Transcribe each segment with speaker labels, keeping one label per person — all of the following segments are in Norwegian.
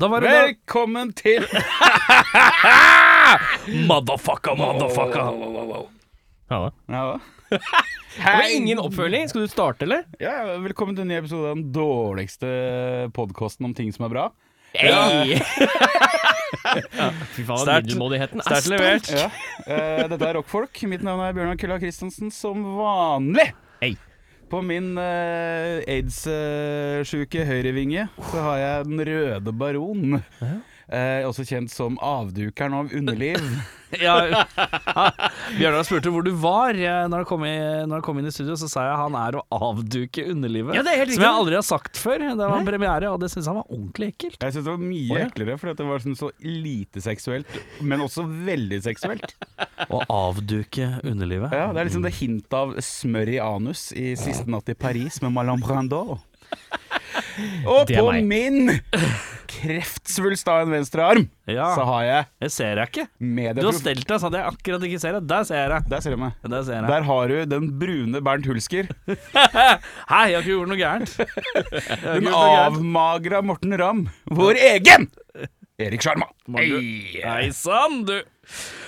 Speaker 1: Da var det da-
Speaker 2: Velkommen til
Speaker 1: Motherfucker, motherfucker. Ja, da.
Speaker 2: Ja, hva?
Speaker 1: Det var
Speaker 2: Hei.
Speaker 1: ingen oppfølging. Skal du starte, eller?
Speaker 2: Ja, velkommen til en ny episode av den dårligste podkasten om ting som er bra.
Speaker 1: Hey! Fy faen,
Speaker 3: Sterkt-
Speaker 1: middelmådigheten er
Speaker 3: sterkt
Speaker 1: sterk.
Speaker 3: levert.
Speaker 2: Ja. eh, dette er Rockfolk. Mitt navn er Bjørnar Kulla Christensen, som vanlig.
Speaker 1: Hei.
Speaker 2: På min eh, aids-sjuke høyrevinge så har jeg Den røde baron. Eh, også kjent som avdukeren av underliv.
Speaker 1: Ja. Bjørnar spurte hvor du var Jeg- når han, kom i, når han kom inn i studio. Så sa jeg han er å avduke underlivet.
Speaker 3: Ja, det er helt
Speaker 1: som jeg
Speaker 3: riktig.
Speaker 1: aldri har sagt før. Det var en premiere, og det syntes han var ordentlig ekkelt.
Speaker 2: Jeg syns det var mye
Speaker 1: Å, ja.
Speaker 2: eklere, for det var sånn så lite seksuelt, men også veldig seksuelt.
Speaker 1: Å avduke underlivet.
Speaker 2: Ja, Det er liksom det hint av smør i anus i siste natt i Paris med Malin Brandot. Og
Speaker 1: Det er
Speaker 2: på
Speaker 1: meg.
Speaker 2: min kreftsvulst av en venstre arm,
Speaker 1: Ja.
Speaker 2: så har jeg
Speaker 1: Jeg ser deg ikke. Du har
Speaker 2: medieprof...
Speaker 1: stelt deg sånn at jeg akkurat ikke ser deg. Der ser jeg deg.
Speaker 2: Der ser du meg.
Speaker 1: Der ser jeg deg.
Speaker 2: Der har du den brune Bernt Hulsker.
Speaker 1: Hei, jeg har ikke gjort noe gærent. Jeg har ikke
Speaker 2: Den
Speaker 1: gjort noe gærent.
Speaker 2: avmagra Morten Ramm. Vår egen Erik Sjarma.
Speaker 1: du-
Speaker 2: Ei.
Speaker 1: Hei sann, du.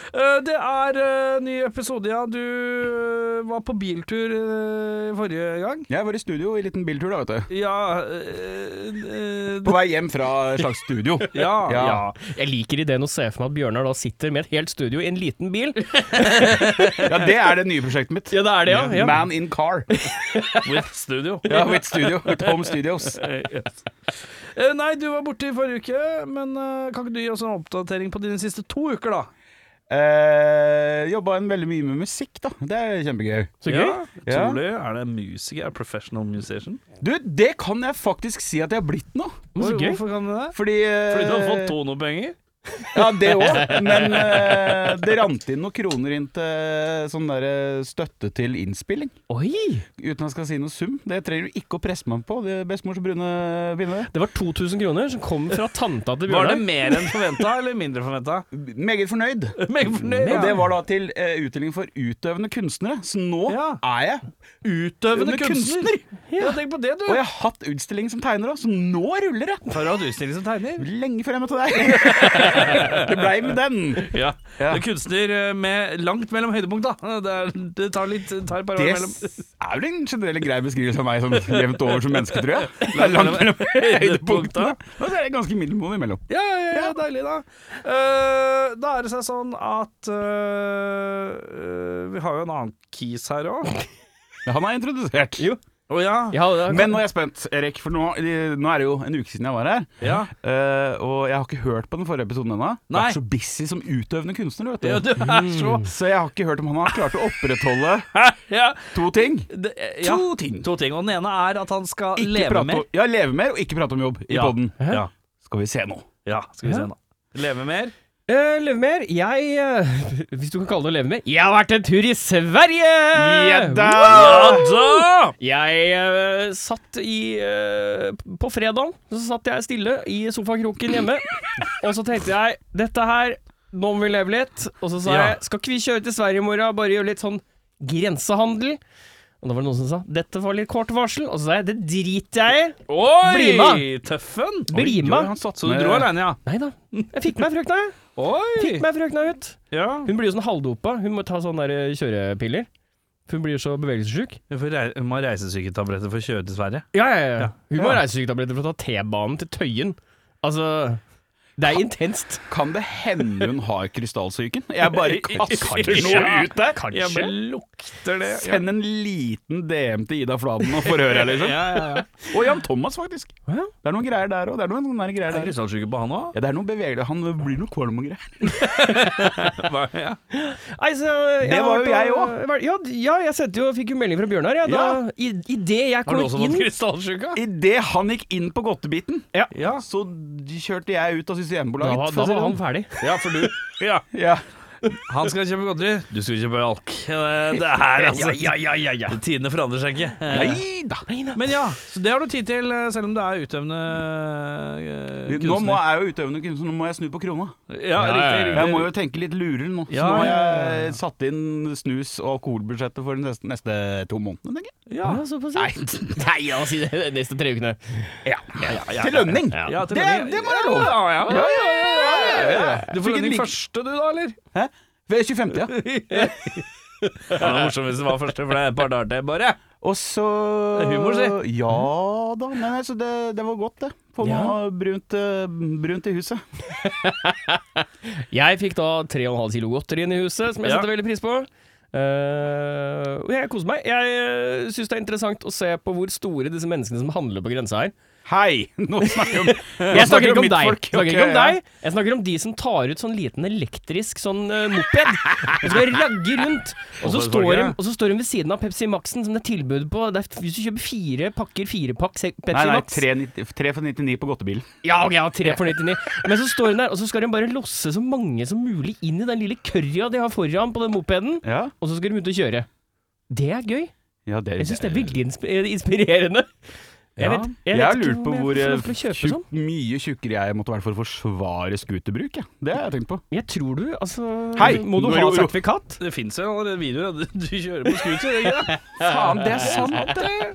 Speaker 1: Eh, Det er eh, ny episode, ja. Du eh, var på biltur eh, forrige gang.
Speaker 2: Jeg var i studio i liten biltur, da, vet du.
Speaker 1: Ja eh, eh,
Speaker 2: På vei hjem fra et slags studio.
Speaker 1: ja, ja.
Speaker 2: Ja.
Speaker 3: Jeg liker ideen å se for meg at Bjørnar da sitter med et helt studio i en liten bil.
Speaker 2: Ja, det er det nye prosjektet mitt.
Speaker 3: Ja, det er det, ja. ja.
Speaker 2: Man in car.
Speaker 1: With studio.
Speaker 2: Ja, with studio. With home studios.
Speaker 1: Eh, yes. Eh, Nei, du var borte i forrige uke, men eh, kan ikke du gi oss en oppdatering på dine siste to uker, da?
Speaker 2: Eh, jobba en veldig mye med musikk, da. Det er kjempegøy.
Speaker 3: Så gøy.
Speaker 2: Ja.
Speaker 1: utrolig. Er det musiker? Er det professional musician?
Speaker 2: Du, det kan jeg faktisk si at jeg har blitt nå.
Speaker 3: Så gøy.
Speaker 1: Hvorfor kan du det?
Speaker 2: Fordi eh,
Speaker 1: Fordi du har fått tonopenger?
Speaker 2: Ja, det òg. Men eh, det rant inn noen kroner inn til sånn der eh, støtte til innspilling.
Speaker 3: Oi!
Speaker 2: Uten at jeg skal si noe sum. Det trenger du ikke å presse meg på. Det er bestemors brune pinne.
Speaker 3: Det var 2000 kroner som kom fra tanta til
Speaker 1: Var det
Speaker 3: Bjørnar.
Speaker 1: mer enn forventa, eller mindre forventa?
Speaker 2: Meget fornøyd.
Speaker 1: Meg fornøyd.
Speaker 2: Og det var da til eh, utdeling for utøvende kunstnere. Så nå
Speaker 1: Ja.
Speaker 2: er jeg
Speaker 1: utøvende
Speaker 2: Under kunstner.
Speaker 1: Ja, tenk på det, du.
Speaker 2: Og jeg har hatt utstilling som tegner òg, så nå ruller det.
Speaker 1: Har du hatt utstilling som tegner?
Speaker 2: Lenge før jeg møtte deg. det blei med den.
Speaker 1: Ja.
Speaker 2: Ja.
Speaker 1: Du er kunstner eh, med langt mellom høydepunkt, da. Det, er, det tar litt det tar et par år
Speaker 2: Det
Speaker 1: mellom
Speaker 2: er vel en generell grei beskrivelse av meg som jevnt over som menneske, tror jeg. Det er langt mellom høydepunktene. Men så er det ganske middelmådig imellom.
Speaker 1: Ja, ja, ja, deilig, da. Eh, da er det seg sånn at eh, eh, Vi har jo en annen kis her òg.
Speaker 2: Ja, Han er introdusert.
Speaker 1: Å ja.
Speaker 3: Ja, det-
Speaker 2: Men nå er jeg spent, Erik, for nå, nå er det jo en uke siden jeg var her.
Speaker 1: Ja.
Speaker 2: eh, og jeg har ikke hørt på den forrige episoden ennå. Jeg
Speaker 1: Nei.
Speaker 2: er så busy som utøvende kunstner, vet du. Mm.
Speaker 1: ja, du er så
Speaker 2: Så jeg har ikke hørt om han har klart å opprettholde
Speaker 1: ja.
Speaker 2: to ting.
Speaker 1: Det, eh, ja.
Speaker 2: To ting.
Speaker 1: To ting. Og den ene er at han skal
Speaker 2: Ikke
Speaker 1: leve
Speaker 2: prate
Speaker 1: mer.
Speaker 2: om- Ja, leve mer, og ikke prate om jobb i
Speaker 1: Ja.
Speaker 2: podden.
Speaker 1: Ja.
Speaker 2: Skal vi se nå.
Speaker 1: ja, skal vi se
Speaker 3: Ja.
Speaker 1: nå. Leve mer.
Speaker 3: Eh, leve mer. Jeg eh, Hvis du kan kalle det å leve mer. Jeg har vært en tur i Sverige!
Speaker 1: Ja da!
Speaker 3: Jeg eh, satt i eh, På fredag så satt jeg stille i sofakroken hjemme, og så tenkte jeg Dette her, nå må vi leve litt. Og så sa
Speaker 1: Ja.
Speaker 3: jeg Skal ikke vi kjøre til Sverige i morgen, bare gjøre litt sånn grensehandel? Og da var det noen som sa dette var litt kort varsel, og så sa jeg det driter jeg i.
Speaker 1: Oi!
Speaker 3: Bli med.
Speaker 1: Tøffen!
Speaker 3: Bli
Speaker 2: Oi, oi,
Speaker 3: med.
Speaker 2: han satt
Speaker 1: Så du
Speaker 2: med-
Speaker 1: dro alene, ja?
Speaker 3: Nei da. Jeg fikk med meg frøkna, jeg.
Speaker 1: Oi!
Speaker 3: Fikk med meg frøkna ut.
Speaker 1: Ja.
Speaker 3: Hun blir jo sånn halvdopa. Hun må ta sånne der eh, kjørepiller. For Hun blir så bevegelsessjuk.
Speaker 1: Du får rei- må ha reisesyketabletter for å kjøre til Sverige.
Speaker 3: Ja, ja, ja. Hun må
Speaker 2: Ja.
Speaker 3: ha reisesyketabletter for å ta T-banen til Tøyen. Altså Det er intenst.
Speaker 2: Kan det hende hun har krystallsyken? Jeg bare kaster
Speaker 3: Kanskje.
Speaker 2: noe ut der.
Speaker 3: Kanskje.
Speaker 1: Ja, men lukter det ja.
Speaker 2: Send en liten DM til Ida Fladen og forhør deg, liksom.
Speaker 1: ja, ja, ja.
Speaker 2: Og Jan Thomas, faktisk.
Speaker 3: Ja.
Speaker 2: Det er noen greier der òg. Det er noen sånne greier
Speaker 1: Er det
Speaker 2: der.
Speaker 1: krystallsyke på han òg?
Speaker 2: Ja, det er noe bevegelig. Han blir noe kvalm og greier.
Speaker 1: Ja.
Speaker 3: Nei, så jeg
Speaker 2: Det var
Speaker 3: har
Speaker 2: jo
Speaker 3: vært
Speaker 2: jeg
Speaker 3: og- vært- Ja, d- ja, jeg sendte jo, fikk jo melding fra Bjørnar. Ja, da, i, I det jeg
Speaker 1: Har
Speaker 3: kom
Speaker 1: du også fått
Speaker 3: inn
Speaker 1: krystallsyke?
Speaker 2: Idet han gikk inn på godtebiten,
Speaker 1: Ja.
Speaker 2: så kjørte jeg ut av
Speaker 3: da, var-
Speaker 2: Systembolaget. for å
Speaker 3: da
Speaker 2: si
Speaker 3: var
Speaker 2: det
Speaker 3: han
Speaker 2: sånn.
Speaker 3: ferdig.
Speaker 1: ja, for du Ja.
Speaker 2: Ja.
Speaker 1: Han skal kjøpe godteri, du skal kjøpe alk. Det det er altså
Speaker 3: Ja, ja, ja, ja.
Speaker 1: Tidene forandrer seg ikke. Eh, Men ja, så det har du tid til, eh, selv om du er utøvende eh,
Speaker 2: Nå må jeg jo utøvende kunstner, nå må jeg snu på krona.
Speaker 1: Ja,
Speaker 4: Ja, ja, ja.
Speaker 1: riktig, riktig.
Speaker 2: Jeg må jo tenke litt lurere nå. Så
Speaker 1: Ja,
Speaker 2: nå har
Speaker 1: ja, ja.
Speaker 2: jeg satt inn snus- og alkoholbudsjettet for de neste, neste to månedene, tenker jeg.
Speaker 1: Ja.
Speaker 3: Nei, nei, la oss si det. De neste tre ukene. Ja, ja, ja, ja.
Speaker 2: Til lønning!
Speaker 1: Ja, til
Speaker 2: Det,
Speaker 1: lønning.
Speaker 2: det må være lov!
Speaker 1: Ja, ja, ja, ja, ja, ja, ja. Du får
Speaker 2: Fikk en
Speaker 1: lønning
Speaker 2: lik-
Speaker 1: første, du da, eller?
Speaker 2: Hæ? Ved 25., ja.
Speaker 1: Ja, det var morsomt hvis det var første, for det er et par dager til, bare.
Speaker 2: Og så
Speaker 1: Det er humor, si.
Speaker 2: Ja da. Nei, nei, så det, det var godt, det. Få
Speaker 3: Ja.
Speaker 2: noe brunt, eh, brunt i huset.
Speaker 3: Jeg fikk da 3,5 kilo godteri inn i huset, som jeg
Speaker 1: Ja.
Speaker 3: setter veldig pris på. Eh, og jeg koser meg. Jeg uh, syns det er interessant å se på hvor store disse menneskene som handler på grensa er.
Speaker 2: Hei! Nå snakker vi om
Speaker 3: Jeg snakker ikke om
Speaker 2: mitt
Speaker 3: deg.
Speaker 2: folk.
Speaker 3: Jeg snakker
Speaker 2: Ok,
Speaker 3: ikke om
Speaker 2: ja.
Speaker 3: deg. Jeg snakker om de som tar ut sånn liten elektrisk sånn eh, moped. Og skal ragge rundt. Og så
Speaker 1: Hvorfor
Speaker 3: står
Speaker 1: folk,
Speaker 3: de
Speaker 1: ja?
Speaker 3: og så står de ved siden av Pepsi Max-en som det er tilbud på. Det er, hvis du kjøper fire pakker firepakk se-
Speaker 2: Nei,
Speaker 3: Pepsi
Speaker 2: nei,
Speaker 3: Max
Speaker 2: 3,90 3 for 99 på godtebilen.
Speaker 3: Ja, ok, ja, tre for 99. Men så står hun der, og så skal hun bare losse så mange som mulig inn i den lille kørja de har foran på den mopeden,
Speaker 2: Ja.
Speaker 3: og så skal de ut og kjøre. Det er gøy.
Speaker 2: ja, det
Speaker 3: Jeg syns det er veldig insp- inspirerende. Jeg, vet,
Speaker 2: Jeg, har
Speaker 3: vet ikke
Speaker 2: lurt på
Speaker 3: om jeg
Speaker 2: hvor
Speaker 3: får lov til å
Speaker 2: eh,
Speaker 3: kjøpe
Speaker 2: tjukk-
Speaker 3: sånn.
Speaker 2: mye tjukkere jeg måtte være for å forsvare scooterbruk. jeg. Det har jeg tenkt på.
Speaker 3: Jeg tror du Altså
Speaker 2: Hei,
Speaker 3: Må du
Speaker 2: nå
Speaker 3: ha
Speaker 2: ro- ro-
Speaker 3: sertifikat?
Speaker 1: Det fins jo allerede videoer av at du kjører på scooter. gjør det ikke det?
Speaker 2: Faen, det er sant, det!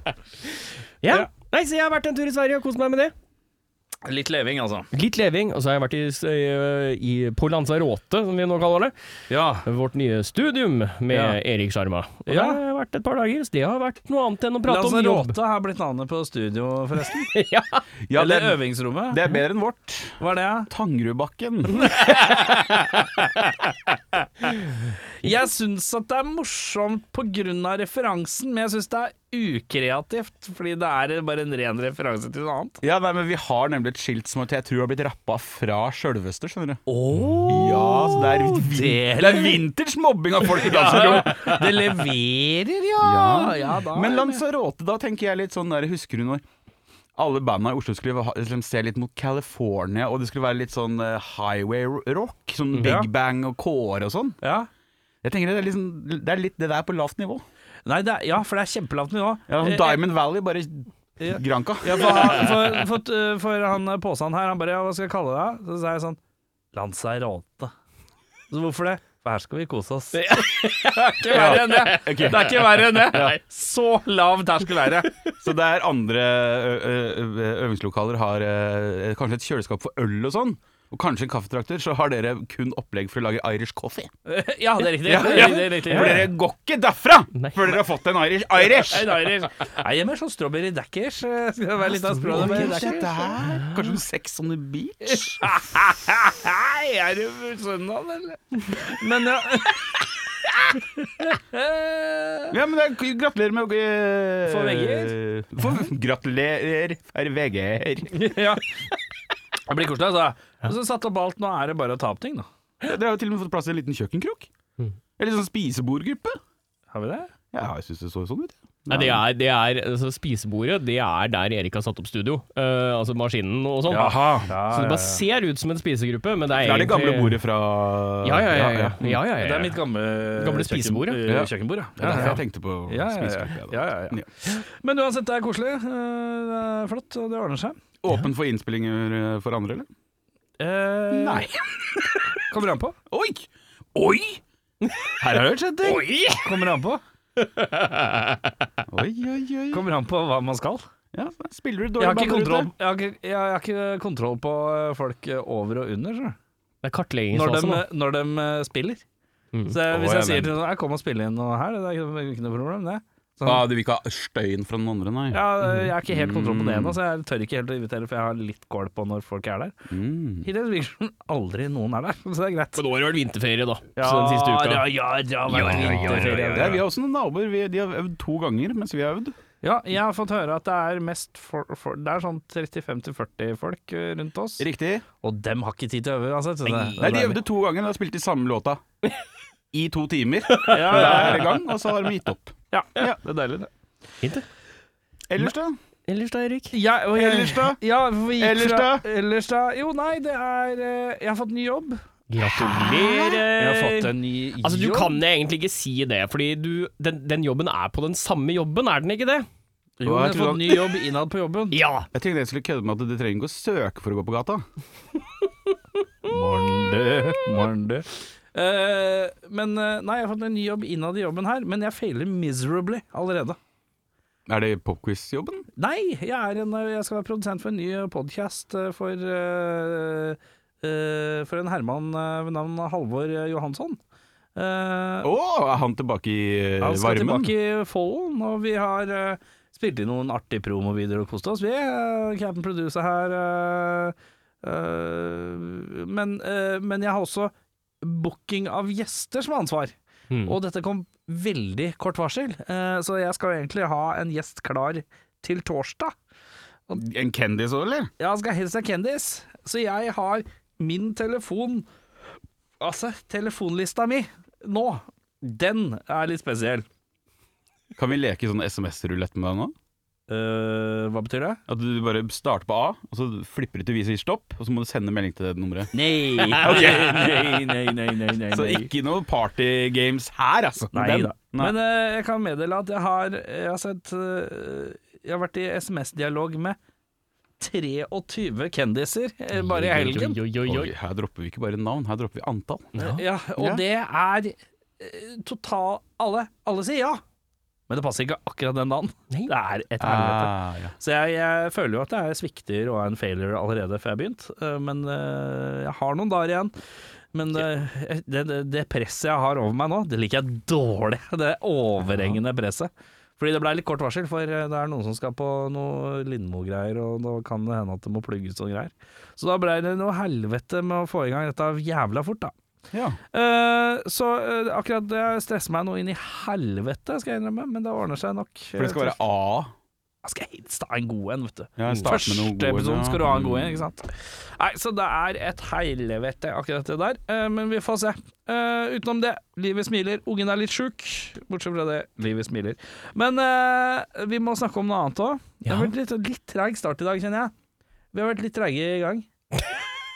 Speaker 1: Ja.
Speaker 3: Ja. Nei, så jeg har vært en tur i Sverige og kost meg med det.
Speaker 1: Litt leving, altså.
Speaker 3: Litt leving. Og så har jeg vært i, s- i, i, på Lanzarote, som vi nå kaller det.
Speaker 1: Ja.
Speaker 3: Vårt nye studium med
Speaker 1: Ja.
Speaker 3: Erik Sjarma. Og
Speaker 1: Ja.
Speaker 3: Det har vært et par dager, så det har vært noe annet enn å prate om jobb.
Speaker 1: Lanzarote har blitt navnet på studio, forresten.
Speaker 3: ja.
Speaker 2: Ja, det,
Speaker 1: Eller øvingsrommet.
Speaker 2: det er bedre enn vårt.
Speaker 1: Hva er det?
Speaker 2: Tangerudbakken.
Speaker 1: Jeg syns at det er morsomt pga. referansen, men jeg syns det er ukreativt. Fordi det er bare en ren referanse til noe annet.
Speaker 2: Ja, nei, men Vi har nemlig et skilt som jeg tror har blitt rappa fra sjølveste, skjønner du.
Speaker 1: Oh,
Speaker 2: Ja, så det er, vin det er vinters mobbing av folk i danserom.
Speaker 1: Det leverer, ja!
Speaker 2: Ja.
Speaker 1: da.
Speaker 2: Men Lanzarote, da tenker jeg litt sånn der, husker du når alle banda i Oslo skulle ha- liksom, se litt mot California, og det skulle være litt sånn eh, highway rock, sånn
Speaker 1: Ja.
Speaker 2: Big Bang og Kåre og sånn.
Speaker 1: ja.
Speaker 2: Jeg tenker det er, liksom, det er litt det der på lavt nivå.
Speaker 1: Nei, det er, ja, for det er kjempelavt nivå.
Speaker 2: Ja,
Speaker 1: Eh,
Speaker 2: sånn Diamond Valley, bare
Speaker 1: Ja.
Speaker 2: Granka.
Speaker 1: Ja, for, han, for, for, for han påsan her, han bare ja, 'hva skal jeg kalle deg?' Så sa jeg sånn 'Lanzarote'. Så hvorfor det? For her skal vi kose oss. Det er ikke verre enn det. Det er ikke verre enn det. Så lav terskel er det.
Speaker 2: Så der andre ø- ø- ø- øvingslokaler har ø, kanskje et kjøleskap for øl og sånn, og kanskje en kaffetrakter, så har dere kun opplegg for å lage Irish coffee.
Speaker 1: Ja, det er riktig.
Speaker 2: Ja,
Speaker 1: Det
Speaker 2: ja.
Speaker 1: er riktig, det er riktig.
Speaker 2: For dere går ikke derfra
Speaker 3: Nei.
Speaker 2: før dere har fått en Irish. Irish.
Speaker 1: En Irish. Nei, jeg er mer sånn strawberry dackers. eh, Skal jeg være litt av
Speaker 2: Ja,
Speaker 1: språket
Speaker 2: men
Speaker 1: med
Speaker 2: det er ikke
Speaker 1: dackers?
Speaker 2: der. Kanskje en sex on the beach?
Speaker 1: Hei, er du sønnen, eller? Men ja.
Speaker 2: Ja, men det er, gratulerer med å ø,
Speaker 1: For VG-er.
Speaker 2: for- Gratulerer for VG-er.
Speaker 1: ja. Det blir koselig, altså. Og så satt opp alt. Nå er det bare å ta opp ting, da.
Speaker 2: Dere har jo til og med fått plass til en liten kjøkkenkrok.
Speaker 1: Mm.
Speaker 2: Eller sånn spisebordgruppe.
Speaker 1: Har vi det?
Speaker 2: Ja, jeg syns det så sånn ut.
Speaker 3: Nei, det er, det er altså, Spisebordet det er der Erik har satt opp studio. Eh, altså maskinen og sånn.
Speaker 1: Jaha.
Speaker 3: så det bare ser ut som en spisegruppe, men det er
Speaker 2: Det er det gamle
Speaker 3: egentlig-
Speaker 2: bordet fra
Speaker 3: Ja, ja, ja. ja, ja, ja, ja,
Speaker 1: Det
Speaker 3: ja.
Speaker 1: er mitt gamle,
Speaker 3: Gamle spisebord, ja.
Speaker 1: kjøkken- eh, Kjøkkenbord, ja.
Speaker 2: Det er derfor jeg tenkte på
Speaker 1: Ja, ja, ja.
Speaker 2: spisegruppe,
Speaker 1: Ja, ja, ja. Men uansett, det er koselig. eh, Det er flott, og det ordner seg.
Speaker 2: Åpen for innspillinger eh, for andre, eller?
Speaker 1: Eh, Kommer an på.
Speaker 2: Oi! Oi! Her har det skjedd ting! Oi,
Speaker 1: Kommer an på.
Speaker 2: oi, oi.
Speaker 1: Kommer an på hva man skal.
Speaker 2: Ja, spiller
Speaker 1: Jeg
Speaker 2: du dårlig
Speaker 1: har ikke
Speaker 2: baller
Speaker 1: kontroll,
Speaker 2: ute?
Speaker 1: jeg har ikke, jeg har ikke kontroll på eh, folk eh, over og under, så. Når,
Speaker 3: Det er
Speaker 1: de,
Speaker 3: kartleggingsfasen. da.
Speaker 1: når de eh, spiller.
Speaker 3: sånn, altså.
Speaker 1: Så
Speaker 3: Mm.
Speaker 1: jeg-
Speaker 2: Å,
Speaker 1: hvis
Speaker 2: ja,
Speaker 1: jeg sier
Speaker 2: men-
Speaker 1: til noen «Jeg 'kom og spill inn noe her', det er ikke- ikke noe problem, det. Sånn,
Speaker 2: Ah, du vil ikke ha støyen fra den andre, nei?
Speaker 1: Ja, eh, jeg har ikke helt kontroll på det ennå, så jeg tør ikke helt å invitere, for jeg har litt kål på når folk er der.
Speaker 2: Mm.
Speaker 1: Hittil virker det som aldri noen er der, så det er greit.
Speaker 3: Men nå har det vært vinterferie, da. så den siste uka.
Speaker 1: Ja, ja, ja, ja,
Speaker 3: Ja, ja, ja, ja, ja,
Speaker 2: Det er, vi har også noen naboer. Vi, de har øvd to ganger mens vi har øvd.
Speaker 1: Ja, jeg har fått høre at det er mest for, for, Det er sånn 35-40 folk eh, rundt oss,
Speaker 2: Riktig.
Speaker 1: og dem har ikke tid til å øve uansett. så det-
Speaker 2: Nei, de øvde to ganger. Da spilte de samme låta i to timer
Speaker 1: Ja, ja,
Speaker 2: hver gang, og så har de gitt opp.
Speaker 1: ja, ja, det er deilig, det.
Speaker 3: Fint, det.
Speaker 2: Ellers, da?
Speaker 3: Ellers da, Erik?
Speaker 1: Ja, og jeg-
Speaker 2: Ellers da?
Speaker 1: Ja, for vi gikk
Speaker 2: Ellers
Speaker 1: fra, ellers da? Jo, nei, det er eh, Jeg har fått ny jobb.
Speaker 3: Gratulerer.
Speaker 1: Vi har fått en ny jobb.
Speaker 3: Eh, Altså, du kan egentlig ikke si det, fordi du, den, den jobben er på den samme jobben, er den ikke det?
Speaker 1: Jo, vi har fått ny jobb innad på jobben.
Speaker 3: Ja.
Speaker 2: Jeg tenkte jeg skulle kødde med at du trenger ikke å søke for å gå på gata.
Speaker 1: Morn, du. Morn, du. Eh, men eh, nei, jeg har fått en ny jobb innad i jobben her, men jeg feiler miserably allerede.
Speaker 2: Er det popquiz-jobben?
Speaker 1: Nei, jeg, er en, eh, jeg skal være produsent for en ny podkast for, eh, eh, for en herremann eh, ved navn Halvor eh, Johansson. Eh,
Speaker 2: Å, er han tilbake i eh,
Speaker 1: Han skal
Speaker 2: varmen?
Speaker 1: tilbake i Follen, og vi har eh, spilt inn noen artige promovideoer og kost oss. Vi er Captain Producer her. eh, eh, men, eh, men jeg har også booking av gjester som ansvar. Og dette kom veldig kort varsel, eh, så jeg skal jo egentlig ha en gjest klar til torsdag.
Speaker 2: En kendis òg, eller?
Speaker 1: Jeg skal helst ha Kendis, så jeg har min telefon Altså, telefonlista mi nå, den er litt spesiell.
Speaker 2: Kan vi leke sånn SMS-rulett med deg nå?
Speaker 1: Eh, hva betyr det?
Speaker 2: At du bare starter på A, og så flipper du til vi sier stopp, og så må du sende melding til det nummeret.
Speaker 1: Nei. nei, nei, nei, nei, nei,
Speaker 2: Så ikke noe party games her, altså.
Speaker 1: Nei
Speaker 2: Den.
Speaker 1: da.
Speaker 2: Nei.
Speaker 1: Men eh, jeg kan meddele at jeg har, jeg har sett eh, Jeg har vært i SMS-dialog med 23 kendiser eh, bare i helgen.
Speaker 3: Oi, oi, oi,
Speaker 2: Oi,
Speaker 3: oi.
Speaker 2: her dropper vi ikke bare navn, her dropper vi antall.
Speaker 1: Ja, og
Speaker 2: Ja.
Speaker 1: det er eh, total Alle, alle sier ja! Men det passer ikke akkurat den dagen.
Speaker 3: Nei.
Speaker 1: Det er et helvete.
Speaker 2: Ah, ja.
Speaker 1: Så jeg, jeg føler jo at jeg svikter og er en failure allerede før jeg har begynt, eh, men eh, jeg har noen dager igjen. Men eh, det, det, det presset jeg har over meg nå, det liker jeg dårlig. Det overhengende presset. Fordi det blei litt kort varsel, for eh, det er noen som skal på noe Lindmo-greier, og da kan det hende at det må plugges og greier. Så da blei det noe helvete med å få i gang dette jævla fort, da.
Speaker 2: Ja.
Speaker 1: Eh, så eh, akkurat det stresser meg nå inn i helvete, skal jeg innrømme, men det ordner seg nok. eh,
Speaker 2: For det skal være A.
Speaker 1: Jeg skal helst ha en god en, vet du.
Speaker 2: Ja, Mm. start med
Speaker 1: Første
Speaker 2: noe gode,
Speaker 1: episoden skal du ha en god en,
Speaker 2: ja.
Speaker 1: ikke sant? Nei, så det er et helvete, akkurat det der. Eh, men vi får se. Eh, utenom det, livet smiler. Ungen er litt sjuk. Bortsett fra det, livet smiler. Men eh, vi må snakke om noe annet òg. Det har vært litt, litt treig start i dag, kjenner jeg. Vi har vært litt treige i gang.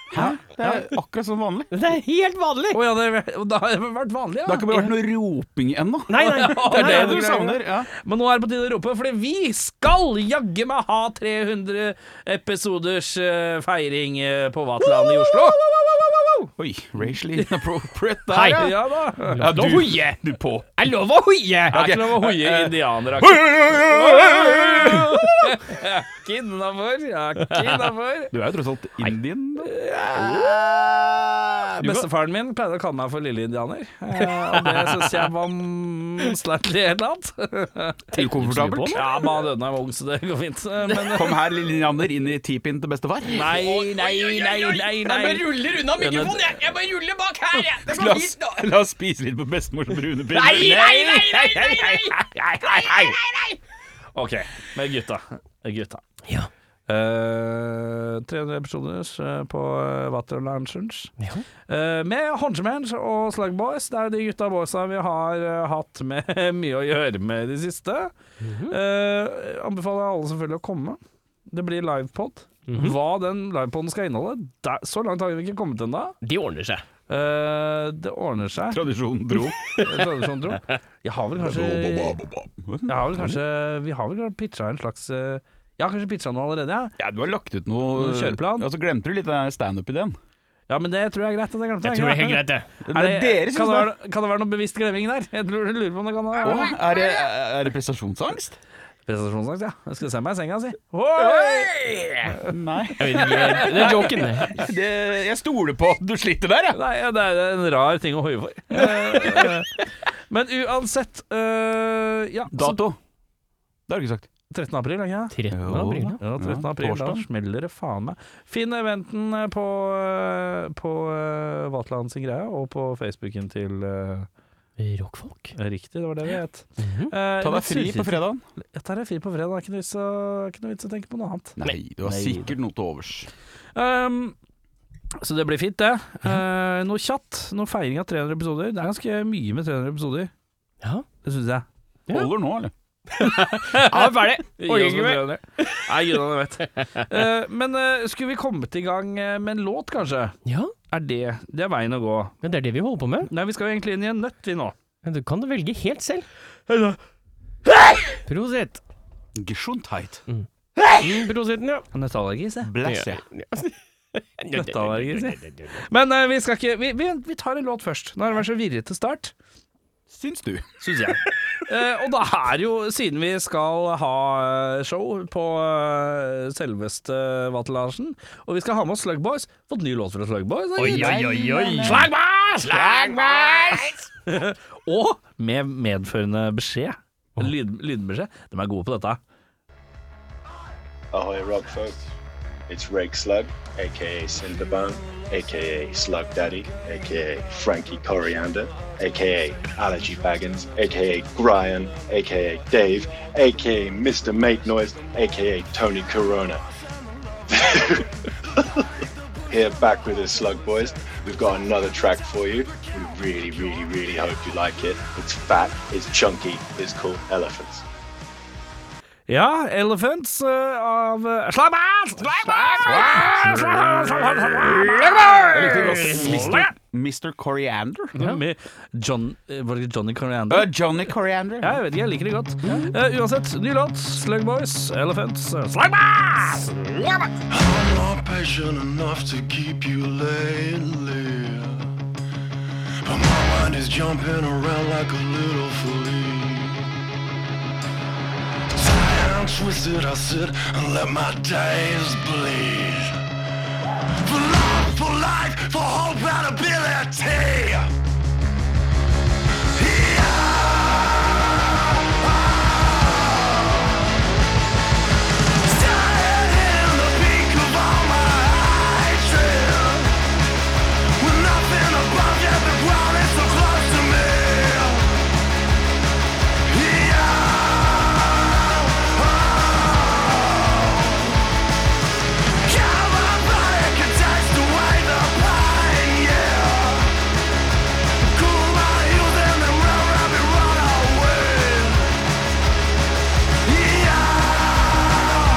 Speaker 2: Hæ? Det er akkurat som vanlig.
Speaker 3: Det er helt vanlig!
Speaker 1: Å ja, det, da har det vært vanlig,
Speaker 2: Det har ikke
Speaker 1: ja.
Speaker 2: bare vært noe roping ennå.
Speaker 3: Nei, nei, det er
Speaker 2: Nei,
Speaker 3: det
Speaker 2: du
Speaker 3: du
Speaker 2: savner. Ja.
Speaker 1: Men nå er det på tide å rope, fordi vi skal jaggu meg ha 300 episoders eh, feiring eh, på Vaterland i Oslo.
Speaker 2: Oi, racially inappropriate der,
Speaker 3: Hei.
Speaker 2: ja.
Speaker 1: Ja da.
Speaker 2: Ja,
Speaker 3: Lov å
Speaker 2: du,
Speaker 3: hoie!
Speaker 2: du på.
Speaker 3: Det er lov å hoie!
Speaker 1: Det er ikke lov å hoie indianere. Kinnafor. Ja, kinnafor.
Speaker 2: Du er jo tross alt indian. da.
Speaker 1: Bestefaren min pleide å kalle meg for lille indianer, eh, og det syns jeg var mm, slightly et eller annet.
Speaker 2: Ukomfortabelt.
Speaker 1: Ja, men han døde da jeg var ung, så det går fint. eh, Men
Speaker 2: Kom her, lille Leander, inn i teepin til bestefar.
Speaker 1: nei, nei, nei, nei. nei.
Speaker 3: ruller unna
Speaker 1: mikrofonen,
Speaker 3: jeg. Jeg bare ruller bak her, jeg. Det
Speaker 2: La oss, la oss spise litt på bestemors brune brød.
Speaker 3: nei, nei, nei, nei,
Speaker 1: OK, med gutta. Med gutta.
Speaker 3: Ja.
Speaker 1: Eh, 300 episoder eh, på eh, Vaterland Loungers.
Speaker 3: Ja.
Speaker 1: Eh, med Honchmans og Slugboys. Det er jo de gutta boysa vi har eh, hatt med mye å gjøre med i det siste. Eh, anbefaler alle selvfølgelig å komme. Det blir livepod. Hva den livepoden skal inneholde, der, så langt har vi ikke kommet ennå.
Speaker 3: De ordner seg.
Speaker 1: Eh, det ordner seg,
Speaker 2: Tradisjonen dro.
Speaker 1: tradisjon tro. Jeg har vel kanskje jeg har vel kanskje, Vi har vel pitcha en slags eh, Jeg har kanskje pitcha noe allerede, jeg.
Speaker 2: Ja, du har lagt ut noe
Speaker 1: Noen kjøreplan?
Speaker 2: Og så glemte du litt den standup-ideen.
Speaker 1: Ja, men det tror jeg er greit. at Jeg glemte
Speaker 3: Jeg tror det er helt greit, det.
Speaker 2: Er det dere
Speaker 1: kan,
Speaker 2: som
Speaker 1: det
Speaker 2: er
Speaker 1: være, kan det være noe bevisst glemming der? Jeg lurer, lurer på om det kan være
Speaker 2: Å, er det, er det prestasjonsangst?
Speaker 1: Prestasjonsangst, ja. Jeg skal se meg i senga, si.
Speaker 2: Nei.
Speaker 3: Jeg vet ikke. Det er joken, det.
Speaker 2: Det, jeg stoler på at du sliter der, ja.
Speaker 1: Nei, ja, det er en rar ting å hoie for. Eh, men uansett eh, Ja, så
Speaker 2: Dato. Altså, Det har du ikke sagt.
Speaker 1: 13. april, er ikke det?
Speaker 3: 13. april, ja.
Speaker 1: Ja, 13. april. Da
Speaker 2: torsdag.
Speaker 1: smeller det faen meg. Finn eventen på, eh, på eh, Vatland sin greie, og på Facebooken til eh,
Speaker 3: Rockfolk.
Speaker 1: Riktig, det var det vi het. Eh,
Speaker 3: Mhm.
Speaker 2: Ta deg fri på fredagen.
Speaker 1: Jeg tar deg fri på fredag. Det er ikke noe vits å- ikke noe vits å tenke på noe annet.
Speaker 2: Nei, du har
Speaker 1: Nei.
Speaker 2: sikkert noe til overs.
Speaker 1: Ehm, så det blir fint, det. Eh, noe chat, noe feiring av 300 episoder. Det er ganske mye med 300 episoder,
Speaker 3: Ja.
Speaker 1: det syns jeg.
Speaker 3: Ja.
Speaker 2: Holder nå, eller?
Speaker 3: Ja, ferdig. Orker ikke mer.
Speaker 1: Nei, gudene vet. Eh, men eh, skulle vi kommet i gang eh, med en låt, kanskje?
Speaker 3: Ja,
Speaker 1: Er det Det er veien å gå.
Speaker 3: men det er det vi holder på med.
Speaker 1: Nei, vi skal jo egentlig inn i en nøtt, vi nå.
Speaker 3: Men du kan velge helt selv. Prosit.
Speaker 2: Gesundheit.
Speaker 3: Mm, Prositen, ja.
Speaker 1: Nøtteallergi, se.
Speaker 2: Bless you.
Speaker 1: Nøtteallergi, se. Men eh, vi skal ikke vi, vi, vi tar en låt først. Nå har det vært så virrete start.
Speaker 2: Syns du?
Speaker 1: syns jeg. Eh, og da er jo, siden vi skal ha eh, show på eh, selveste Vatel Larsen, og vi skal ha med oss Slug Boys, fått ny låt fra Slug Boys. Oi, oi, oi. Slug Boys! Slug Boys! og med medførende beskjed, lyd, lydbeskjed, de er gode på dette.
Speaker 5: Ahoy, Rob folks. It's Rake Slug, aka Cinderbone, aka Slug Daddy, aka Frankie Coriander, aka Allergy Baggins, aka Brian, aka Dave, aka Mr. Make Noise, aka Tony Corona. Here back with us, Slug Boys. We've got another track for you. We really, really, really hope you like it. It's fat, it's chunky, it's called Elephants.
Speaker 1: Ja, Elephants eh, av eh, Slug Boys! Slug Boys! Slug Boys! Slug Boys!
Speaker 2: Mr. Coriander?
Speaker 1: Med John, eh, var det Johnny Coriander?
Speaker 2: Uh, Johnny Coriander.
Speaker 1: Ja, jeg vet ikke, jeg liker det godt. Eh, uansett, ny låt. Slug Boys, Elephants, eh, Slug Boys!
Speaker 6: I'm not patient enough to keep you lately. But my mind is jumping around like a little flea. So I'm twisted, I sit and let my days bleed. For love, for life, for hope and ability. Standing in the peak of all my hatred. With nothing above, yet the ground is so close to me. Calibrated can taste away the pain, yeah. Cool my youth and then run, run, run away, yeah.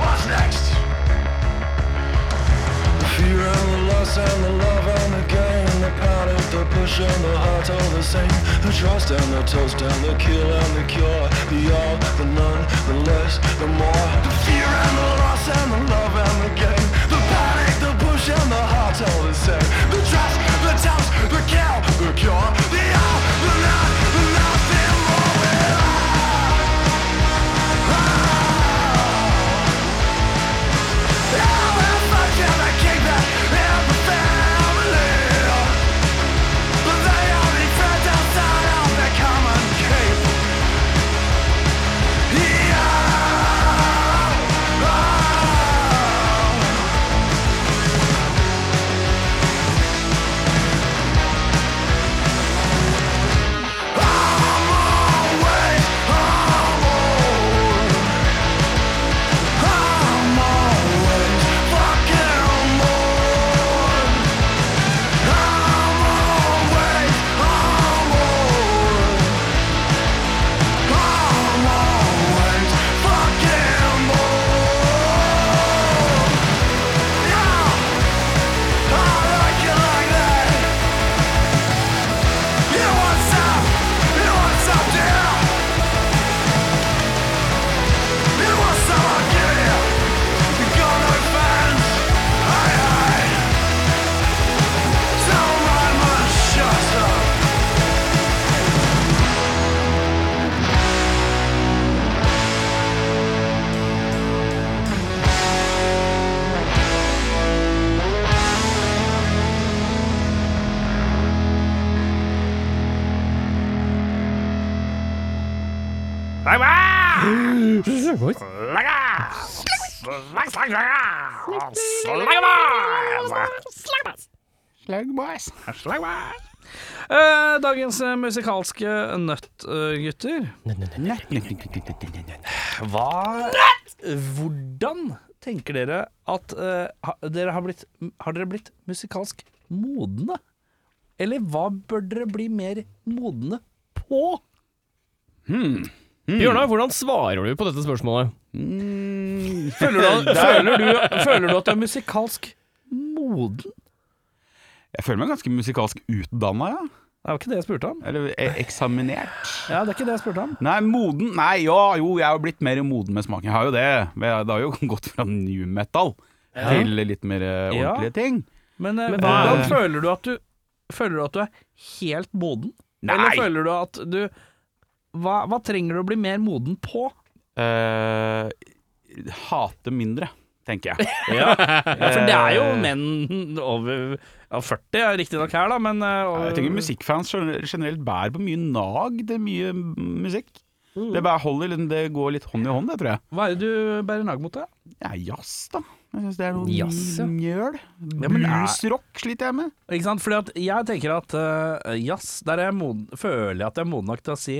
Speaker 6: What's next? Fear and the loss and the love and the gain The panic, the push and the heart all the same The trust and the toast and the kill and the cure The all, the none, the less, the more The fear and the loss and the love and the gain The panic, the push and the heart all the same The trust, the toast, the kill, the cure The all, the none, the nothing more Yeah!
Speaker 1: Eh, dagens eh, musikalske nøtt, eh, gutter. Hva Hvordan tenker dere at eh, ha, dere har, blitt, har dere blitt musikalsk modne? Eller hva bør dere bli mer modne på?
Speaker 3: Bjørnar, hvordan svarer du på dette spørsmålet?
Speaker 1: Føler du, føler du, føler du at du er musikalsk moden?
Speaker 2: Jeg føler meg ganske musikalsk utdanna, ja.
Speaker 1: Det var ikke det jeg spurte om.
Speaker 2: Eller eh, eksaminert.
Speaker 1: Ja, det er ikke det jeg spurte om.
Speaker 2: Nei, moden Nei, ja, jo, jeg har jo blitt mer moden med smaken. Jeg har jo det. Men Det har jo gått fra new metal til litt mer eh,
Speaker 1: Ja.
Speaker 2: ordentlige ting.
Speaker 1: Men, eh,
Speaker 3: Men hva-
Speaker 1: hvordan føler du at du Føler du at du er helt moden?
Speaker 2: Nei.
Speaker 1: Eller føler du at du hva, hva trenger du å bli mer moden på?
Speaker 2: Eh, hate mindre, tenker jeg.
Speaker 1: Ja. for det er jo
Speaker 2: Eh.
Speaker 1: menn over ja, 40 er riktignok her, da, men eh,
Speaker 2: Nei,
Speaker 1: over,
Speaker 2: Jeg tenker musikkfans gener- generelt bærer på mye nag til mye mm, musikk. Det bare holder, liksom, det går litt hånd i hånd, det tror jeg.
Speaker 1: Hva er det du bærer nag mot, da?
Speaker 2: Det er jazz, da. Jeg synes det er noe
Speaker 3: Jazz, ja.
Speaker 2: mjøl.
Speaker 1: men er-
Speaker 2: Bluesrock sliter jeg med.
Speaker 1: Ikke sant? Fordi at jeg tenker at eh, jazz, der er jeg moden, føler jeg at jeg er moden nok til å si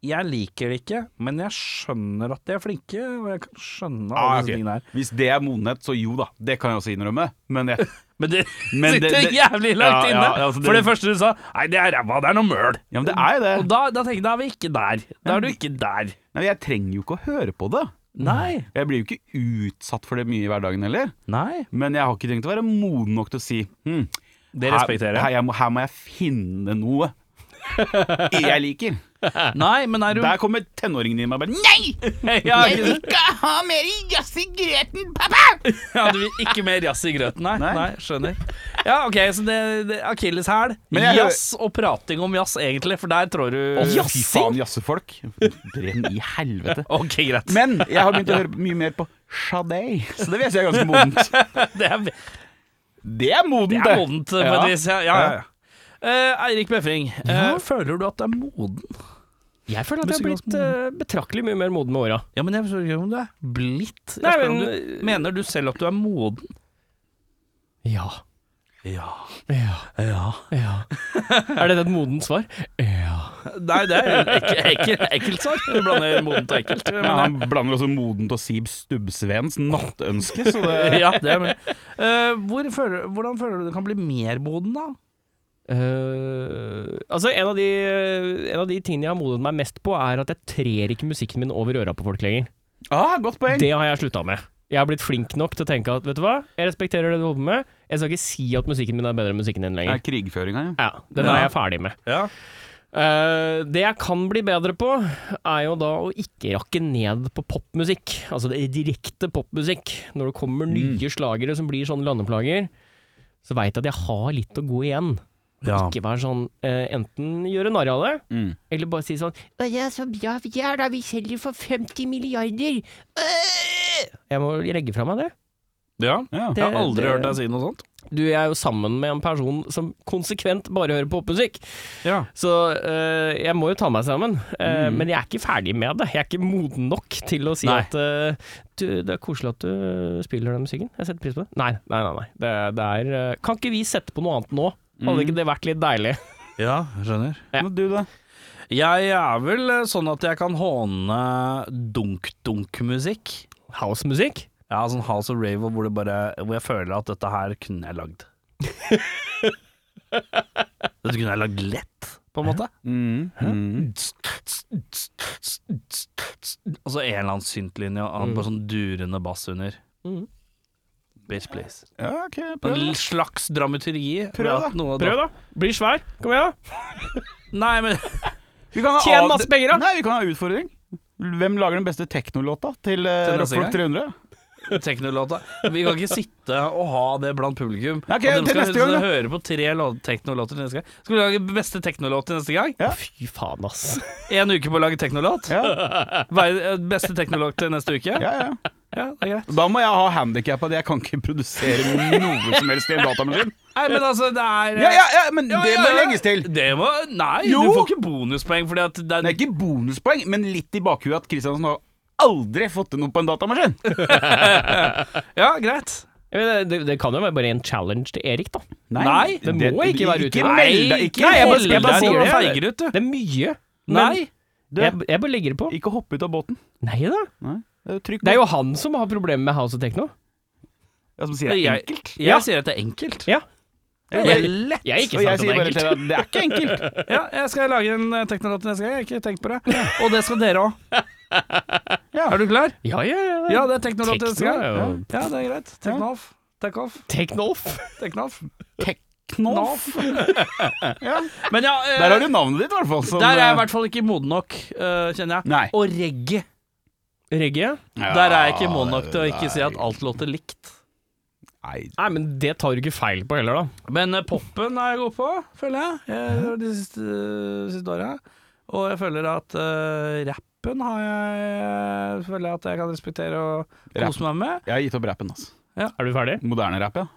Speaker 1: jeg liker det ikke, men jeg skjønner at de er flinke, og jeg kan skjønne alle
Speaker 2: Ah,
Speaker 1: disse
Speaker 2: ok.
Speaker 1: tingene her.
Speaker 2: Hvis det er modenhet, så jo da, det kan jeg også innrømme. Men jeg,
Speaker 1: Men det
Speaker 2: Men det-
Speaker 1: sitter
Speaker 2: det-
Speaker 1: jævlig langt
Speaker 2: Ja, ja,
Speaker 1: inne.
Speaker 2: altså, det-
Speaker 1: For det første du sa, nei, det er ræva, det er noe møl.
Speaker 2: ja, men det er jo det.
Speaker 1: Og da, da tenker jeg, da er vi ikke der. Da er du ikke der.
Speaker 2: Nei, jeg trenger jo ikke å høre på det.
Speaker 1: Nei.
Speaker 2: Jeg blir jo ikke utsatt for det mye i hverdagen heller.
Speaker 1: Nei.
Speaker 2: Men jeg har ikke tenkt å være moden nok til å si hm,
Speaker 1: Det respekterer jeg.
Speaker 2: her, her, jeg må, her må jeg finne noe jeg liker.
Speaker 1: Nei, men er du
Speaker 2: Der kommer tenåringen i meg og bare Nei!
Speaker 1: Ja, ikke sant?
Speaker 2: Skal ha mer jazz i grøten, pappa!
Speaker 1: Ja, du vil ikke mer jazz i grøten, nei. nei.
Speaker 2: Nei.
Speaker 1: skjønner. Ja, OK, så det, det akilleshæl.
Speaker 2: Men jeg-
Speaker 1: Jazz og prating om jazz, egentlig, for der trår du
Speaker 2: Eh, Fy faen, jazzefolk. Brenn i helvete.
Speaker 1: OK, greit.
Speaker 2: Men jeg har begynt å høre mye mer på Sade, så det vil jeg si er ganske modent.
Speaker 1: Det er,
Speaker 2: Det er modent,
Speaker 1: det er modent på et vis. Ja, ja, ja. ja. Eh, Eirik Befring, eh, føler du at du er moden?
Speaker 3: Jeg føler at jeg har
Speaker 1: Musikalsk
Speaker 3: blitt eh, betraktelig mye mer moden med åra.
Speaker 1: Ja, men jeg spør ikke om du er blitt. Jeg
Speaker 3: Nei,
Speaker 1: spør om
Speaker 3: men-
Speaker 1: du, mener du selv at du er moden?
Speaker 3: Ja.
Speaker 1: Ja.
Speaker 3: Ja.
Speaker 1: ja.
Speaker 3: ja. Er dette et modent svar? Ja.
Speaker 1: Nei, det er ek ekkel, ekkelt svar. Du blander modent og ekkelt. Men
Speaker 2: Men han blander også modent og Sib Stubbsveens nattønske, så det
Speaker 1: ja, det er med. Eh, hvor føler, hvordan føler du du kan bli mer moden, da?
Speaker 3: Eh, altså en av, de, en av de tingene jeg har modet meg mest på, er at jeg trer ikke musikken min over øra på folk lenger.
Speaker 2: ah, Godt poeng!
Speaker 3: Det har jeg slutta med. Jeg har blitt flink nok til å tenke at vet du hva, jeg respekterer det du holder på med, jeg skal ikke si at musikken min er bedre enn musikken din
Speaker 2: Det
Speaker 3: lenger.
Speaker 2: er krigføringa, ja.
Speaker 3: Ja, Den er jeg ferdig med.
Speaker 1: Ja.
Speaker 3: Eh, det jeg kan bli bedre på, er jo da å ikke rakke ned på popmusikk. Altså det er direkte popmusikk. Når det kommer nye slagere som blir sånne landeplager, så veit jeg at jeg har litt å gå igjen. Ikke være sånn eh, Enten gjøre narr av det,
Speaker 2: Mm.
Speaker 3: eller bare si sånn «Å, 'Det er så bra vi er, da. Vi selger for 50 milliarder.' Øh! Jeg må legge fra meg det.
Speaker 2: ja.
Speaker 3: Det-
Speaker 1: Jeg har aldri
Speaker 3: det-
Speaker 1: hørt deg si noe sånt.
Speaker 3: Du jeg er jo sammen med en person som konsekvent bare hører på popmusikk.
Speaker 1: Ja.
Speaker 3: Så øh, jeg må jo ta meg sammen. Eh, Men jeg er ikke ferdig med det. Jeg er ikke moden nok til å si
Speaker 1: Nei.
Speaker 3: at øh, du, 'Det er koselig at du spiller den musikken. Jeg setter pris på det.' Nei, nei, nei. nei. Det, det er øh, Kan ikke vi sette på noe annet nå? Hadde ikke det vært litt deilig?
Speaker 1: ja, skjønner.
Speaker 3: Ja.
Speaker 2: Men du, da?
Speaker 1: Jeg er vel eh, sånn at jeg kan håne dunk-dunk-musikk.
Speaker 3: Housemusikk?
Speaker 1: Ja, sånn house og rave hvor, det bare, hvor jeg føler at dette her kunne jeg lagd. dette kunne jeg lagd lett, på en måte.
Speaker 2: Mm. Mm.
Speaker 1: Og så en eller annen syntlinje og
Speaker 2: Mm.
Speaker 1: annen, bare sånn durende bass under.
Speaker 3: Mhm.
Speaker 1: Bitch, please.
Speaker 2: Ja, ok, Mm. prøv,
Speaker 1: En
Speaker 2: da.
Speaker 1: slags dramaturgi. ved
Speaker 2: Prøv, da.
Speaker 1: at noe-
Speaker 3: Prøv, da. Bli svær. Kom igjen, da.
Speaker 1: Nei, men
Speaker 2: Vi kan ha
Speaker 3: Tjen
Speaker 2: av-
Speaker 3: masse penger, da.
Speaker 2: Nei, vi kan ha utfordring. Hvem lager den beste teknolåta til
Speaker 1: Til
Speaker 2: uh,
Speaker 1: neste
Speaker 2: Rockfolk 300?
Speaker 1: teknolåta Vi kan ikke sitte og ha det blant publikum.
Speaker 2: Nei, ok,
Speaker 1: At de
Speaker 2: til
Speaker 1: skal
Speaker 2: neste gang, da.
Speaker 1: høre på tre lå- teknolåter til neste gang. Skal vi lage beste teknolåt til neste gang?
Speaker 3: Fy faen, ass.
Speaker 1: Én uke på å lage teknolåt?
Speaker 2: Ja,
Speaker 1: Hver- eh, Beste teknolåt til neste uke?
Speaker 2: ja, ja.
Speaker 1: Ja, det er greit.
Speaker 2: Da må jeg ha handikap at jeg kan ikke produsere noe som helst i en datamaskin.
Speaker 1: Nei, men altså, det er
Speaker 2: Ja, ja, ja, men det
Speaker 1: ja,
Speaker 2: må
Speaker 1: ja.
Speaker 2: legges til.
Speaker 1: Det må Nei,
Speaker 2: Jo.
Speaker 1: du får ikke bonuspoeng fordi at det
Speaker 2: Det er ikke bonuspoeng, men litt i bakhuet at Kristiansen har aldri fått til noe på en datamaskin!
Speaker 1: Ja, greit.
Speaker 3: Jeg vet, det, det kan jo være bare en challenge til Erik, da.
Speaker 1: Nei,
Speaker 3: det må ikke være ute.
Speaker 2: Ikke meld deg, ikke,
Speaker 1: Nei, jeg bare,
Speaker 2: meld
Speaker 1: jeg bare
Speaker 2: deg.
Speaker 1: sier det.
Speaker 2: Feiger.
Speaker 1: Feiger ut, du.
Speaker 3: Det er mye. men
Speaker 1: Nei.
Speaker 3: Jeg, jeg bare legger det på.
Speaker 2: Ikke hopp ut av båten.
Speaker 3: Nei da.
Speaker 2: Eh, Trykk
Speaker 3: Det er jo han som har problemer med House of Techno.
Speaker 2: Ja, som sier det er
Speaker 1: Jeg-
Speaker 2: enkelt.
Speaker 1: Jeg
Speaker 3: Ja.
Speaker 1: sier at det er enkelt.
Speaker 3: Ja.
Speaker 1: Det er lett.
Speaker 3: Jeg har ikke
Speaker 2: Og jeg
Speaker 3: sagt
Speaker 2: sier
Speaker 3: at
Speaker 2: bare
Speaker 3: det
Speaker 2: til
Speaker 3: er
Speaker 2: deg at det er ikke enkelt.
Speaker 1: Ja, jeg skal lage en eh, teknolåt neste gang. Jeg har ikke tenkt på det. Og det skal dere òg. Er du klar?
Speaker 3: Ja, ja, ja.
Speaker 1: Ja, det er teknolåt neste
Speaker 3: Tekno
Speaker 1: gang.
Speaker 3: er jo
Speaker 1: Ja, det er greit. Teknolf. Takeoff.
Speaker 3: Technolf.
Speaker 1: Teknolf.
Speaker 2: Knoff.
Speaker 1: Men ja, eh,
Speaker 2: Der har du navnet ditt, i hvert fall. som,
Speaker 1: der er jeg i
Speaker 2: eh,
Speaker 1: hvert fall ikke moden nok, eh, kjenner jeg.
Speaker 2: Nei.
Speaker 1: Og reggae.
Speaker 3: Reggae?
Speaker 2: Ja,
Speaker 1: Der er jeg ikke moden nok til å ikke
Speaker 2: nei.
Speaker 1: si at alt låter likt.
Speaker 2: Nei,
Speaker 3: Nei, men det tar du ikke feil på heller, da.
Speaker 1: Men eh, poppen er jeg god på, føler jeg, eh, de siste, siste åra. Og jeg føler at eh, rappen har jeg Føler jeg at jeg kan respektere og kose meg med.
Speaker 2: jeg har gitt opp rappen, altså.
Speaker 3: Er du ferdig?
Speaker 2: Moderne rap, ja.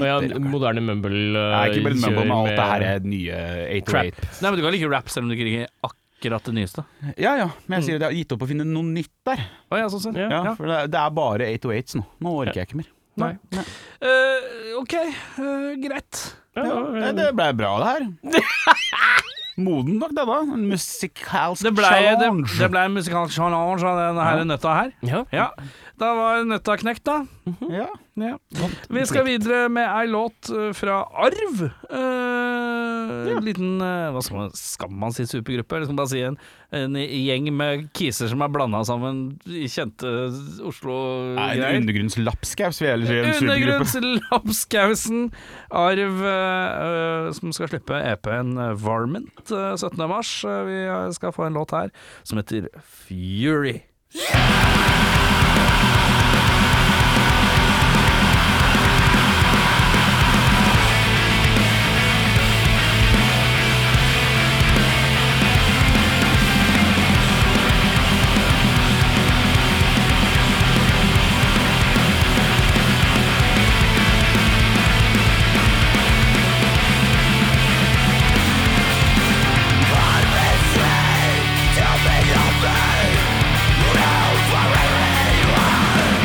Speaker 3: Å ja,
Speaker 2: rakker.
Speaker 3: moderne mumble uh,
Speaker 2: Nei, ikke bare
Speaker 3: kjør
Speaker 2: mumble, men alt det her
Speaker 3: med-
Speaker 2: er nye
Speaker 3: Trap.
Speaker 2: 808.
Speaker 1: Nei, men du kan like rap selv om du ikke liker akkurat det nyeste.
Speaker 2: Ja ja, men jeg sier at jeg har gitt opp å finne noe nytt der.
Speaker 1: Å, ja, sånn sett.
Speaker 3: Ja.
Speaker 2: Ja, for det er, det er bare 808s nå. Nå orker jeg ikke mer.
Speaker 3: Nei.
Speaker 1: Eh, OK, eh, greit.
Speaker 3: Ja,
Speaker 2: Ja,
Speaker 3: ja,
Speaker 2: nei,
Speaker 3: ja.
Speaker 2: det ble bra, det her. Moden nok, det da. En musikalsk
Speaker 1: Det ble, det,
Speaker 2: challenge.
Speaker 1: det ble en musikalsk challenge av denne her nøtta her.
Speaker 3: Ja.
Speaker 1: Ja, Da var nøtta knekt, da.
Speaker 2: Ja.
Speaker 1: Ja. Vi skal videre med ei låt eh, fra Arv. Eh, En liten eh, hva skal man, skal man si supergruppe? Eller skal man bare si en, en gjeng med kiser som er blanda sammen i kjente eh,
Speaker 2: Nei, en
Speaker 1: Oslo-greier?
Speaker 2: undergrunnslapskaus vil jeg heller si. En supergruppe.
Speaker 1: Undergrunnslapskausen Arv, eh, eh, som skal slippe EP-en Varmint eh, 17. mars. Eh, Vi eh, skal få en låt her som heter Fury.
Speaker 7: Don't be lonely, you know forever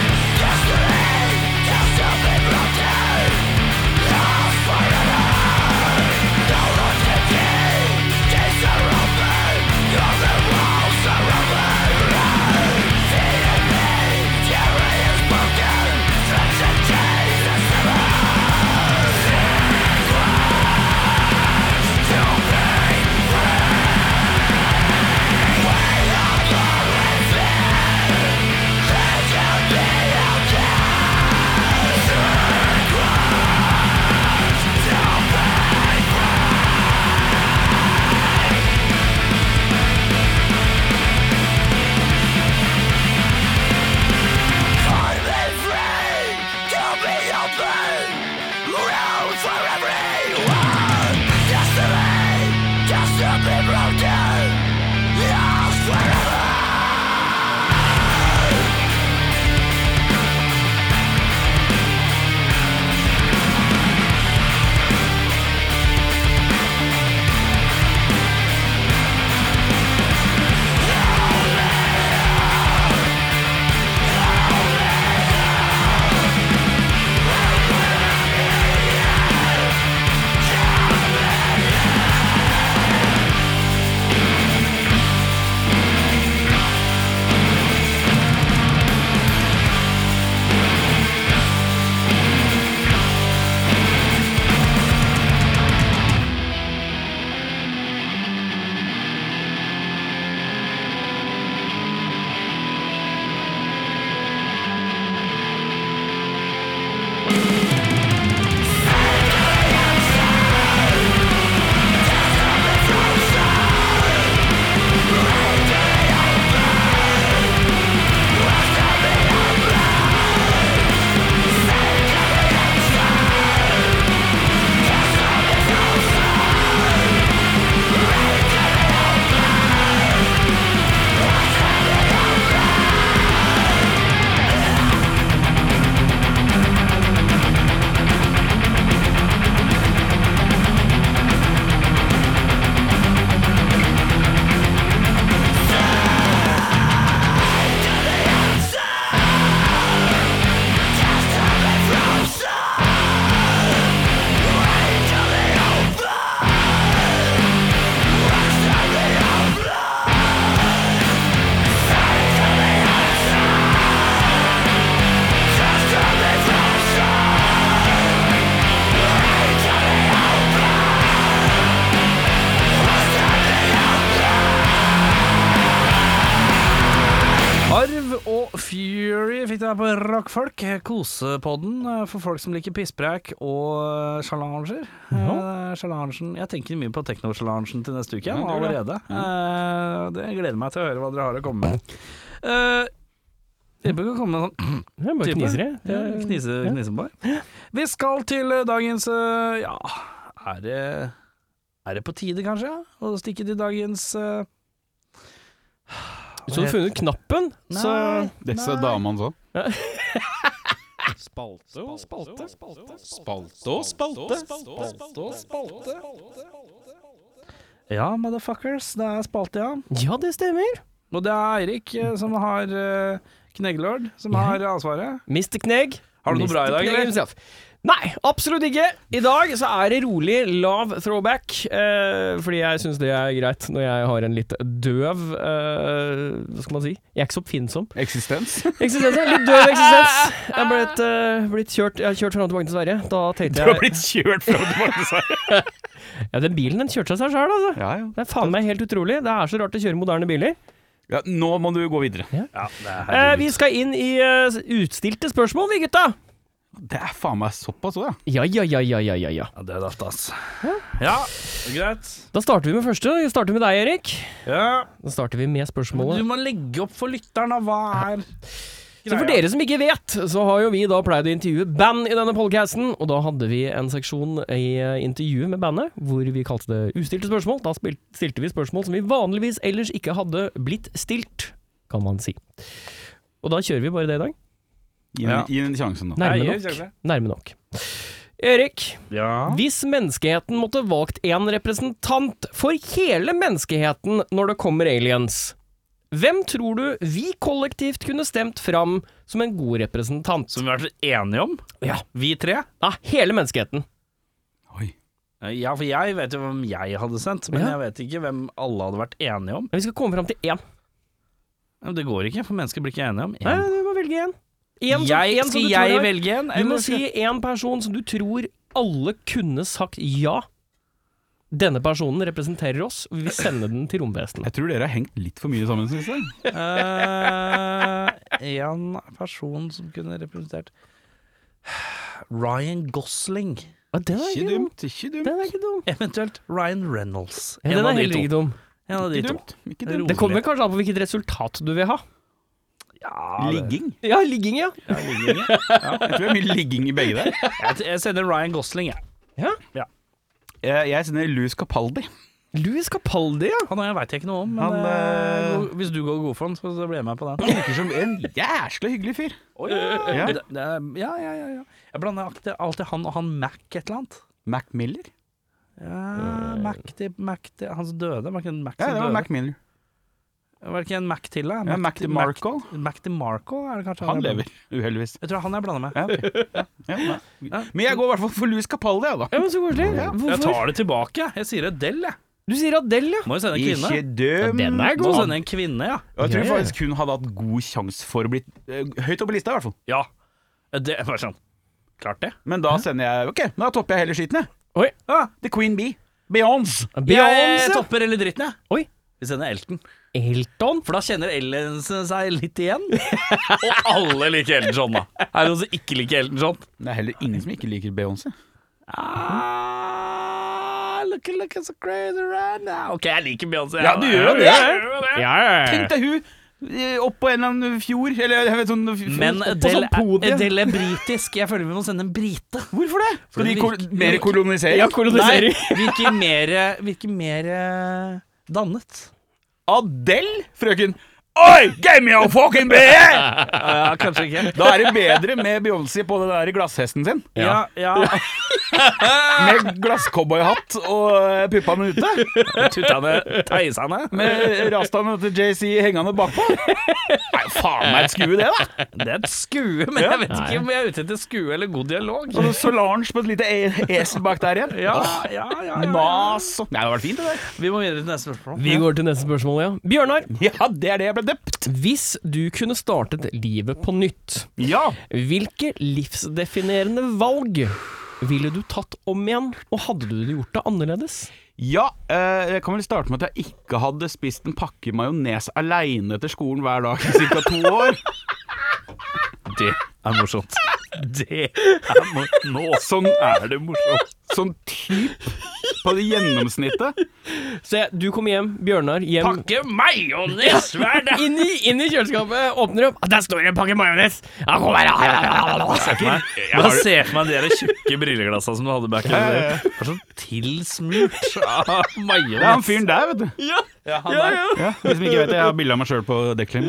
Speaker 1: fikk du her på Rockfolk, kosepodden eh, for folk som liker pisspreik og eh, sjalanger. Eh, Sjalangen Jeg tenker mye på teknosjalangen til neste uke
Speaker 2: Ja,
Speaker 1: jeg,
Speaker 2: det gjør
Speaker 1: allerede. Eh, Det gleder jeg meg til å høre hva dere har å komme med. Eh, Jeg bør ikke komme med sånn
Speaker 3: Det er bare
Speaker 1: Type.
Speaker 3: kniser, jeg.
Speaker 1: ja, knise, knisebar. Vi skal til eh, dagens eh, Ja, er det, er det på tide, kanskje? Å stikke til dagens eh,
Speaker 3: Hvis du hadde funnet knappen, så
Speaker 1: Nei.
Speaker 2: Disse damene sånn.
Speaker 3: Spalte og spalte.
Speaker 2: Spalte og spalte.
Speaker 1: Ja, motherfuckers, det er spalte, ja.
Speaker 3: Ja, det stemmer.
Speaker 1: Og det er Eirik eh, som har eh, Kneglord, som
Speaker 3: Ja.
Speaker 1: har eh, ansvaret.
Speaker 3: Mr. Kneg.
Speaker 1: Har du noe bra i
Speaker 3: Mr.
Speaker 1: dag,
Speaker 3: Kneg
Speaker 1: eller?
Speaker 3: himself. Nei, absolutt ikke. I dag så er det rolig, lav throwback. Eh, fordi jeg syns det er greit når jeg har en litt døv eh, Hva skal man si? Jeg er ikke så oppfinnsom.
Speaker 2: Eksistens.
Speaker 3: Eksistens, ja. Litt døv eksistens. Jeg har blitt, eh, blitt kjørt Jeg har kjørt fram og tilbake til Sverige. Da tenkte jeg
Speaker 2: blitt kjørt fra tilbake.
Speaker 3: Ja, den bilen den kjørte seg sjøl, altså.
Speaker 2: Ja, ja.
Speaker 3: Det er faen meg helt utrolig. Det er så rart å kjøre moderne biler.
Speaker 2: ja. Nå må du gå videre.
Speaker 3: Eh, vi skal inn i eh, utstilte spørsmål, vi gutta.
Speaker 2: Det er faen meg såpass òg, ja.
Speaker 3: Ja, ja, ja, ja, ja, ja, ja.
Speaker 1: Ja, det er datt, ass. Ja, greit.
Speaker 3: Da starter vi med første. Vi starter med deg, Erik.
Speaker 1: Ja.
Speaker 3: Da starter vi med
Speaker 1: Du
Speaker 3: spørsmålet.
Speaker 1: må legge opp for lytteren, da. Hva er
Speaker 3: Så for dere som ikke vet, så har jo vi da pleid å intervjue band i denne podcasten, og da hadde vi en seksjon i eh, intervjuet med bandet hvor vi kalte det ustilte spørsmål. Da spil- stilte vi spørsmål som vi vanligvis ellers ikke hadde blitt stilt, kan man si. Og da kjører vi bare det i dag.
Speaker 2: Gi den- Gi den sjansen nå.
Speaker 1: Nei,
Speaker 3: Nærme
Speaker 1: jeg
Speaker 3: nok.
Speaker 1: kjører det.
Speaker 3: Nærme nok. Erik,
Speaker 1: Ja.
Speaker 3: Hvis menneskeheten måtte valgt en representant for hele menneskeheten når det kommer aliens, hvem tror du vi kollektivt kunne stemt fram som en god representant?
Speaker 1: Som vi har vært enige om,
Speaker 3: Ja.
Speaker 1: vi tre.
Speaker 3: Ja, hele menneskeheten.
Speaker 2: Oi.
Speaker 1: Ja, for jeg vet jo hvem jeg hadde sendt, men
Speaker 3: Ja.
Speaker 1: jeg vet ikke hvem alle hadde vært enige om.
Speaker 3: Men vi skal komme fram til én.
Speaker 1: Men det går ikke, for mennesker blir ikke enige om
Speaker 3: Nei,
Speaker 1: én.
Speaker 3: du må velge én.
Speaker 1: Mm. Jeg, skal jeg velge en?
Speaker 3: Du
Speaker 1: eller
Speaker 3: må
Speaker 1: skal-
Speaker 3: si én person som du tror alle kunne sagt ja. Denne personen representerer oss, og vi vil sende den til romvesenet.
Speaker 2: Jeg tror dere har hengt litt for mye sammen, syns jeg.
Speaker 1: Eh, en person som kunne representert Ryan Gosling.
Speaker 3: Ja, den er
Speaker 2: Ikke
Speaker 3: ikke dum.
Speaker 2: dumt, ikke dumt.
Speaker 3: Den er ikke dum.
Speaker 1: Eventuelt Ryan Reynolds.
Speaker 3: Ja, den er heller ikke dum.
Speaker 1: En av de
Speaker 2: Ikke
Speaker 1: to.
Speaker 2: dumt. Ikke dumt.
Speaker 3: Det kommer kanskje an på hvilket resultat du vil ha.
Speaker 1: Ja, det-
Speaker 2: Ligging.
Speaker 3: Ja, ligging, ja.
Speaker 2: Jeg tror det er mye ligging i begge der.
Speaker 1: Jeg, jeg sender Ryan Gosling, jeg.
Speaker 2: Jeg jeg sender Louis Capaldi.
Speaker 3: Louis Capaldi, ja.
Speaker 1: Han veit jeg ikke noe om, men
Speaker 2: Han,
Speaker 1: eh,
Speaker 2: eh,
Speaker 1: god- hvis du går god for han, så så blir jeg med på den.
Speaker 2: Virker som en jæskla hyggelig fyr. Ja.
Speaker 1: Det, det, er- ja, ja, ja, ja. Jeg blander alltid, alltid han og han Mac et eller annet.
Speaker 2: Mac Miller?
Speaker 1: Ja, Mac til Mac til Han som døde, var ikke en Mac
Speaker 2: Ja,
Speaker 1: som
Speaker 2: det var
Speaker 1: døde?
Speaker 2: Mac Miller.
Speaker 1: Var det ikke en Mac til, da?
Speaker 2: Ja, Mac
Speaker 1: til-
Speaker 2: DeMarco.
Speaker 1: Mac DeMarco er det kanskje
Speaker 2: Han
Speaker 1: er-
Speaker 2: lever, uheldigvis.
Speaker 1: Jeg tror han jeg blander med.
Speaker 2: Ja, ok. ja, ja. Men jeg går i hvert fall for Louis Capaldi, jeg, da.
Speaker 3: Ja, men Så koselig.
Speaker 1: Jeg
Speaker 3: Hvorfor?
Speaker 1: tar det tilbake. jeg. Jeg sier Adele, jeg.
Speaker 3: Du sier Adele, ja.
Speaker 1: Må jo sende en
Speaker 2: Ikke
Speaker 1: kvinne.
Speaker 2: døm.
Speaker 3: Den er
Speaker 1: Må
Speaker 3: god.
Speaker 1: sende en kvinne, ja.
Speaker 2: Og Jeg tror
Speaker 3: Ja, ja.
Speaker 2: faktisk hun hadde hatt god sjanse for å bli eh, høyt oppe på lista, i hvert fall.
Speaker 1: Ja. Det var sånn. Klart det.
Speaker 2: Men da sender jeg Ok, da topper jeg heller skiten, jeg.
Speaker 3: Oi.
Speaker 2: Ja, The Queen Bee. Beyoncé.
Speaker 1: Jeg
Speaker 3: Beyoncé.
Speaker 1: topper eller dritten, jeg.
Speaker 3: Oi.
Speaker 1: Vi sender Elton.
Speaker 3: Elton.
Speaker 1: For da kjenner Ellen seg litt igjen. Og alle liker Elton John, da. Er det noen som ikke liker Elton John?
Speaker 2: Det er heller ingen som ikke liker Beyoncé.
Speaker 1: Ah, look, look, so crazy right now. OK, jeg liker Beyoncé.
Speaker 2: Ja, du gjør jo
Speaker 1: Ja,
Speaker 2: det.
Speaker 1: jeg gjør det.
Speaker 3: Ja, ja,
Speaker 2: Tenk deg hun eh, opp på en eller annen fjord, eller jeg vet sånn fjord,
Speaker 1: Men
Speaker 2: opp på
Speaker 1: Adele,
Speaker 2: sånn podie.
Speaker 1: er- Adele er britisk. Jeg føler vi må sende en brite.
Speaker 2: Hvorfor det? Skal de
Speaker 1: det
Speaker 2: kol
Speaker 1: virker-
Speaker 2: mer kolonisere?
Speaker 3: ja. Kolonisering.
Speaker 1: virker mer, virker mer eh, dannet.
Speaker 2: Adele, frøken. Oi, give me a fucking beer!
Speaker 1: Ja, kanskje ikke.
Speaker 2: Da er det bedre med Beyoncé på den der glasshesten sin.
Speaker 1: Ja, ja.
Speaker 2: Med glasscowboyhatt og eh, puppene ute.
Speaker 1: Tuttene, teisene.
Speaker 2: Med rastaene til JC hengende bakpå. Nei, faen meg et skue, det, da.
Speaker 1: Det er et skue, men jeg vet ikke om jeg er ute etter skue eller god dialog.
Speaker 2: Og så Altså, Solange på et lite e esel bak der igjen.
Speaker 1: Ja, ja, ja, ja.
Speaker 2: Nas og Nei, det hadde vært fint, det der.
Speaker 1: Vi må videre til neste spørsmål.
Speaker 3: Vi går til neste spørsmål, ja. Bjørnar,
Speaker 2: Ja, det er det jeg ble døpt.
Speaker 3: hvis du kunne startet livet på nytt,
Speaker 2: Ja.
Speaker 3: hvilke livsdefinerende valg ville du tatt om igjen, og hadde du gjort det annerledes?
Speaker 2: Ja, eh, jeg kan vel starte med at jeg ikke hadde spist en pakke majones aleine etter skolen hver dag i ca. to år.
Speaker 1: Det er morsomt. Det er mo Nå
Speaker 2: Sånn,
Speaker 1: er det morsomt.
Speaker 2: sånn typ på det gjennomsnittet.
Speaker 3: Se, du kommer hjem, Bjørnar hjem
Speaker 1: Pakke majones hver dag!
Speaker 3: inn i, inn i kjøleskapet, åpner opp, der står det en pakke majones! Ja, kom her, ja, ja, ja, ja, ja.
Speaker 1: Jeg bare ser for meg de der tjukke brilleglassene som du hadde back in the day. Det var Sånn tilsmurt av
Speaker 2: Det er han
Speaker 1: majones.
Speaker 2: fyren der, vet du.
Speaker 1: Ja, han der.
Speaker 2: Ja, hvis vi ikke vet det, jeg har bilde av meg sjøl på dekkklem.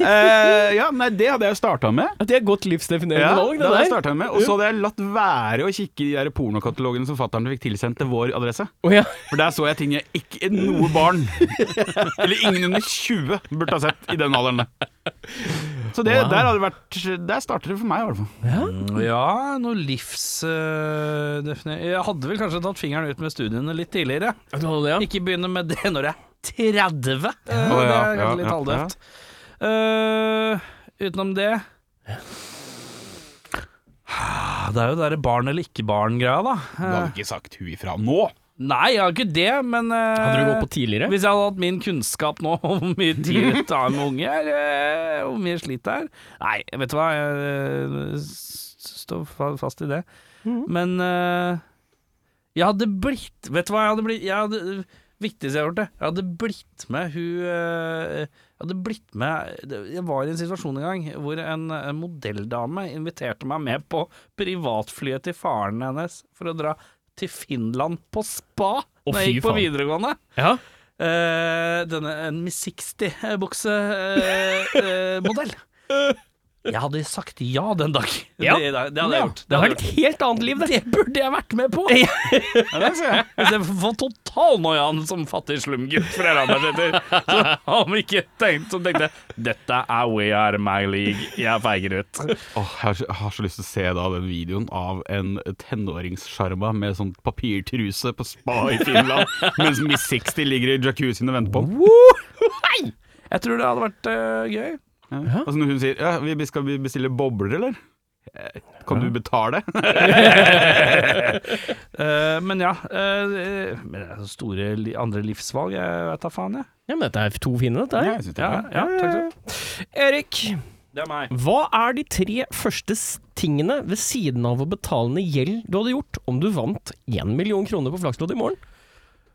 Speaker 2: Eh, ja, nei, det hadde jeg jo starta med.
Speaker 3: Det er et godt livsdefinerende
Speaker 2: Ja,
Speaker 3: valg,
Speaker 2: det hadde jeg
Speaker 3: det der.
Speaker 2: startet med Og så hadde jeg latt være å kikke i de der pornokatalogene som fatter'n fikk tilsendt til vår adresse.
Speaker 3: Å, ja.
Speaker 2: For der så jeg ting jeg ikke noe barn, eller ingen under 20, burde ha sett i den alderen. der. Så det, der hadde det vært Der starter det for meg, i hvert fall.
Speaker 1: Ja, noe livsdefinert Jeg hadde vel kanskje tatt fingeren ut med studiene litt tidligere.
Speaker 3: Ja, du hadde det, ja.
Speaker 1: Ikke begynne med det når jeg er 30. Eh,
Speaker 2: Å,
Speaker 1: det
Speaker 2: ja,
Speaker 1: er
Speaker 2: ja,
Speaker 1: kanskje litt
Speaker 2: ja,
Speaker 1: halvdøvt. Eh, utenom det Ah, Det er jo det der barn eller ikke-barn-greia, da. Eh,
Speaker 2: Du hadde ikke sagt hun ifra nå.
Speaker 1: Nei, jeg har ikke det, men eh,
Speaker 3: Hadde du gått på tidligere?
Speaker 1: Hvis jeg hadde hatt min kunnskap nå om hvor mye tid det tar med unge, eller eh, hvor mye slit det er Nei, vet du hva, jeg eh, s- står fa- fast i det. Men eh, jeg hadde blitt Vet du hva jeg hadde blitt? Jeg hadde, viktigste jeg har gjort det. Jeg hadde blitt med hun eh, Jeg hadde blitt med det- Jeg var i en situasjon en gang hvor en, en modelldame inviterte meg med på privatflyet til faren hennes for å dra til Finland på spa
Speaker 3: Å,
Speaker 1: når jeg
Speaker 3: fy
Speaker 1: gikk på
Speaker 3: faen.
Speaker 1: videregående.
Speaker 3: Ja.
Speaker 1: Eh, denne en eh, Miss 60-buksemodell. eh, jeg hadde sagt ja den dag.
Speaker 3: Ja.
Speaker 1: Det, det hadde jeg gjort.
Speaker 3: Det
Speaker 1: hadde
Speaker 3: har
Speaker 1: jeg
Speaker 3: et helt annet liv, det.
Speaker 1: det burde jeg vært med på!
Speaker 2: Ja, det ser jeg.
Speaker 1: Istedenfor total noiaen som fattig slumgutt fra Randaseter. Så han ikke tenkt som tenkte 'Dette er We Are My League, jeg feiger ut'.
Speaker 2: Åh, jeg har så- jeg har så lyst til å se da den videoen av en tenåringssjarma med sånn papirtruse på spa i Finland, mens Miss 60 ligger i jacuzzien og venter på ham.
Speaker 1: Jeg tror det hadde vært eh, gøy.
Speaker 2: Ja. Altså når hun sier ja, vi 'skal vi bestille bobler', eller? Eh, Kan du betale?
Speaker 1: Eh, men ja. eh, men det er så store li andre livsvalg, jeg vet da faen, jeg.
Speaker 3: Ja, men dette er to fine, dette her.
Speaker 2: jeg synes det
Speaker 1: Ja,
Speaker 2: er bra.
Speaker 1: ja, takk, takk.
Speaker 3: Erik,
Speaker 1: Det er meg.
Speaker 3: hva er de tre første s- tingene ved siden av å betale ned gjeld du hadde gjort om du vant én million kroner på Flakslodd i morgen?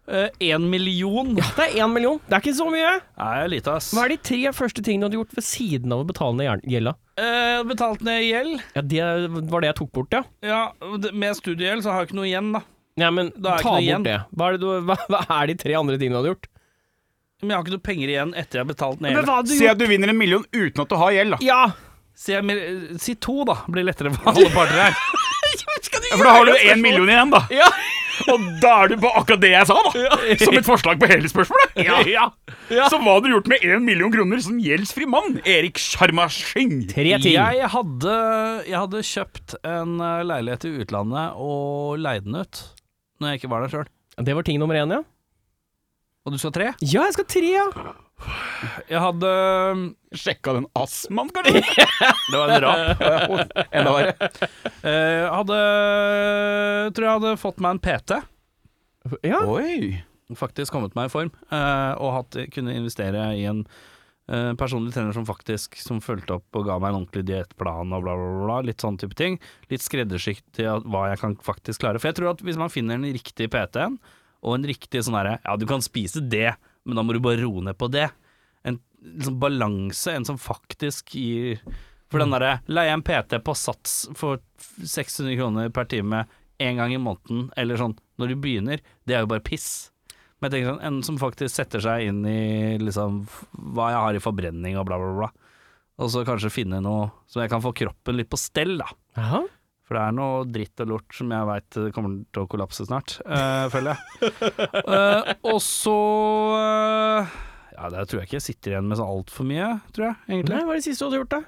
Speaker 1: Én Eh, million
Speaker 3: Ja, det er én million. Det er ikke så mye.
Speaker 1: er lite, ass.
Speaker 3: Hva er de tre første tingene du hadde gjort ved siden av å betale ned gjel- gjelda?
Speaker 1: Eh, betalt ned gjeld.
Speaker 3: Ja, det var det jeg tok bort, ja.
Speaker 1: Ja, det- med studiegjeld så har jeg ikke noe igjen, da.
Speaker 3: Ja, men
Speaker 1: Da er ikke noe
Speaker 3: ta bort
Speaker 1: igjen.
Speaker 3: det. Hva er, det du, hva, hva er de tre andre tingene du hadde gjort?
Speaker 1: Men jeg har ikke noe penger igjen etter jeg har betalt ned
Speaker 3: Men
Speaker 1: gjelden.
Speaker 3: hva hadde du
Speaker 2: Si
Speaker 3: gjort?
Speaker 2: at du vinner en million uten at du har gjeld, da.
Speaker 3: Ja!
Speaker 1: Si, jeg mer- si to, da. Blir lettere for alle parter her.
Speaker 2: For da har du én million igjen, da.
Speaker 3: Ja.
Speaker 2: Og da er du på akkurat det jeg sa, da. Som et forslag på hele spørsmålet. Så hva hadde du gjort med én million kroner som gjeldsfri mann? Erik Sharma Singh.
Speaker 3: Tre ting.
Speaker 1: Jeg hadde, jeg hadde kjøpt en eh, leilighet i utlandet og leid den ut når jeg ikke var der sjøl.
Speaker 3: Det var ting nummer én, ja.
Speaker 1: Og du skal tre?
Speaker 3: Ja, jeg skal ha tre, ja.
Speaker 1: Jeg hadde
Speaker 2: Sjekka den astmaen, kanskje?
Speaker 1: Det var en rap.
Speaker 2: Enda verre.
Speaker 1: eh, Jeg hadde Tror jeg hadde fått meg en PT.
Speaker 3: ja.
Speaker 2: Oi.
Speaker 1: Faktisk kommet meg i form. eh, Og hatt, kunne investere i en eh, personlig trener som faktisk Som fulgte opp og ga meg en ordentlig diettplan og bla, bla, bla. bla, Litt sånn type ting. Litt skreddersydd til at- hva jeg kan faktisk klare. For jeg tror at hvis man finner den riktige PT-en, og en riktig sånn herre Ja, du kan spise det, men da må du bare roe ned på det. En liksom balanse, en som faktisk gir For den derre leie en PT på sats for 600 kroner per time én gang i måneden, eller sånn når du begynner, det er jo bare piss. Men jeg tenker sånn, en som faktisk setter seg inn i liksom f- hva jeg har i forbrenning og bla, bla, bla. Og så kanskje finne noe så jeg kan få kroppen litt på stell, da.
Speaker 3: Aha.
Speaker 1: For det er noe dritt og lort som jeg veit kommer til å kollapse snart, eh, føler jeg. Eh, og så eh, Ja, det tror jeg ikke jeg sitter igjen med så altfor mye, tror jeg, egentlig.
Speaker 3: Nei, hva er det siste du hadde gjort, da?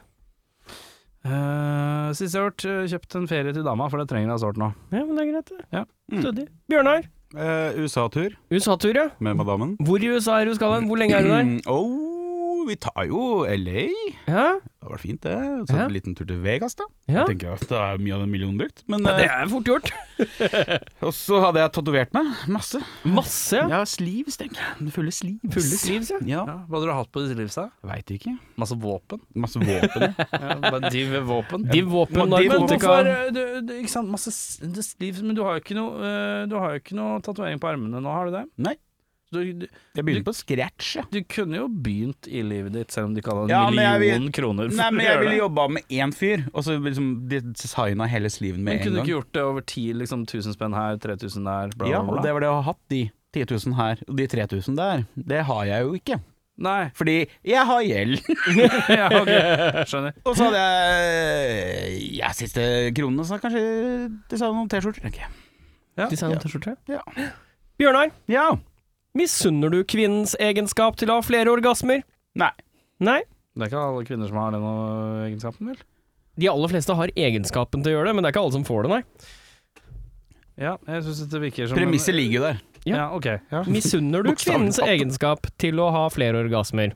Speaker 1: Uh, Sist jeg har gjort, eh, kjøpt en ferie til dama, for det trenger jeg sårt nå.
Speaker 3: Ja, men det er greit, det.
Speaker 1: Ja.
Speaker 2: Mm.
Speaker 3: Stødig. Bjørnar,
Speaker 2: Eh, USA-tur
Speaker 3: USA-tur, ja.
Speaker 2: med madammen.
Speaker 3: Hvor i USA er du skal hen? Hvor lenge er du der?
Speaker 2: Mm, Oh, vi tar jo LA.
Speaker 3: Ja,
Speaker 2: Det var fint, det. Så
Speaker 3: Ja.
Speaker 2: en liten tur til Vegas, da.
Speaker 3: Ja.
Speaker 2: Jeg tenker at det er mye av den millionen brukt. Men,
Speaker 3: det er fort gjort.
Speaker 2: eh, og så hadde jeg tatovert meg. Masse.
Speaker 3: Masse. Ja.
Speaker 2: Ja, sleeves, tenker jeg. Fulle sleeves.
Speaker 3: Fulle sleeves, ja.
Speaker 2: Ja,
Speaker 1: Ja, hva hadde du hatt på ditt livs da?
Speaker 2: Veit ikke.
Speaker 1: Masse våpen?
Speaker 2: Masse våpen.
Speaker 1: Ja, bare de ved våpen?
Speaker 3: De våpen,
Speaker 1: Men
Speaker 3: narkotika
Speaker 1: hvorfor, eh, du, du, ikke sant, masse s- det sleeves, men du har jo ikke noe, eh, du har jo ikke noe tatovering på armene nå, har du det?
Speaker 2: Nei.
Speaker 1: Du, du,
Speaker 2: Jeg begynner på scratch, jeg.
Speaker 1: du kunne jo begynt i livet ditt, selv om du ikke hadde en
Speaker 2: Ja, men jeg vil-
Speaker 1: million kroner for
Speaker 2: Nei, men
Speaker 1: å
Speaker 2: jeg
Speaker 1: gjøre
Speaker 2: ville
Speaker 1: det.
Speaker 2: jobba med én fyr, og så liksom designa hele sleeven
Speaker 1: Men
Speaker 2: med en
Speaker 1: kunne du
Speaker 2: gang.
Speaker 1: ikke gjort det over ti, liksom 1000 spenn her, 3000 der, bla,
Speaker 2: Ja,
Speaker 1: bla, bla?
Speaker 2: og det var det jeg har hatt, de 10 000 her og de 3000 der. Det har jeg jo ikke.
Speaker 1: Nei,
Speaker 2: Fordi jeg har gjeld.
Speaker 1: ja, ok, skjønner.
Speaker 2: Og så hadde jeg ja, siste kronene, så kanskje designa noen T-skjorter. tenker jeg.
Speaker 3: Design og T-skjorte.
Speaker 2: Ja.
Speaker 3: Bjørnar,
Speaker 2: ja.
Speaker 3: misunner du kvinnens egenskap til å ha flere orgasmer?
Speaker 2: Nei.
Speaker 3: Nei.
Speaker 1: Det er ikke alle kvinner som har den eh, egenskapen, vel?
Speaker 3: De aller fleste har egenskapen til å gjøre det, men det er ikke alle som får det, nei.
Speaker 1: Ja, jeg synes det virker som... en-
Speaker 2: Premisset ligger jo der.
Speaker 1: Ja, ok. Ja.
Speaker 3: Misunner du kvinnens egenskap til å ha flere orgasmer?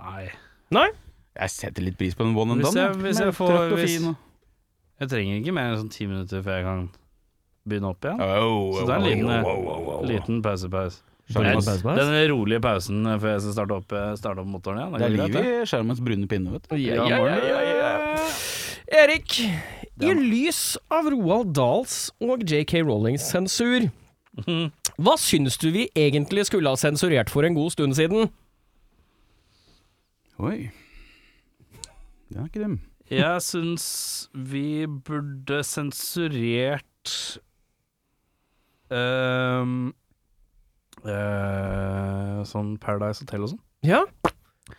Speaker 1: Nei.
Speaker 2: Jeg setter litt pris på den one and
Speaker 1: Hvis
Speaker 2: done.
Speaker 1: jeg-
Speaker 2: da.
Speaker 1: hvis
Speaker 2: Den er
Speaker 1: jeg får-
Speaker 2: trøtt og
Speaker 1: hvis-
Speaker 2: fin og-
Speaker 1: Jeg trenger ikke mer enn sånn ti minutter før jeg kan begynne opp igjen.
Speaker 2: Oh,
Speaker 1: Så det er en
Speaker 2: oh,
Speaker 1: liten,
Speaker 2: oh,
Speaker 1: eh,
Speaker 2: oh, oh, oh.
Speaker 1: Liten pause-pause.
Speaker 2: Sjarmans-
Speaker 1: Den den rolige pausen eh, før jeg skal starte opp, eh, starte opp motoren igjen.
Speaker 2: Det er
Speaker 1: greit,
Speaker 2: liv i skjermens brune pinne, vet du.
Speaker 3: Ja, ja, ja, ja, ja. Erik, i lys av Roald Dahls og JK Rowlings sensur, hva syns du vi egentlig skulle ha sensurert for en god stund siden?
Speaker 2: Oi. Den er ikke dum.
Speaker 1: Jeg syns vi burde sensurert ehm, eh, Sånn Paradise Hotel og sånn.
Speaker 3: Ja?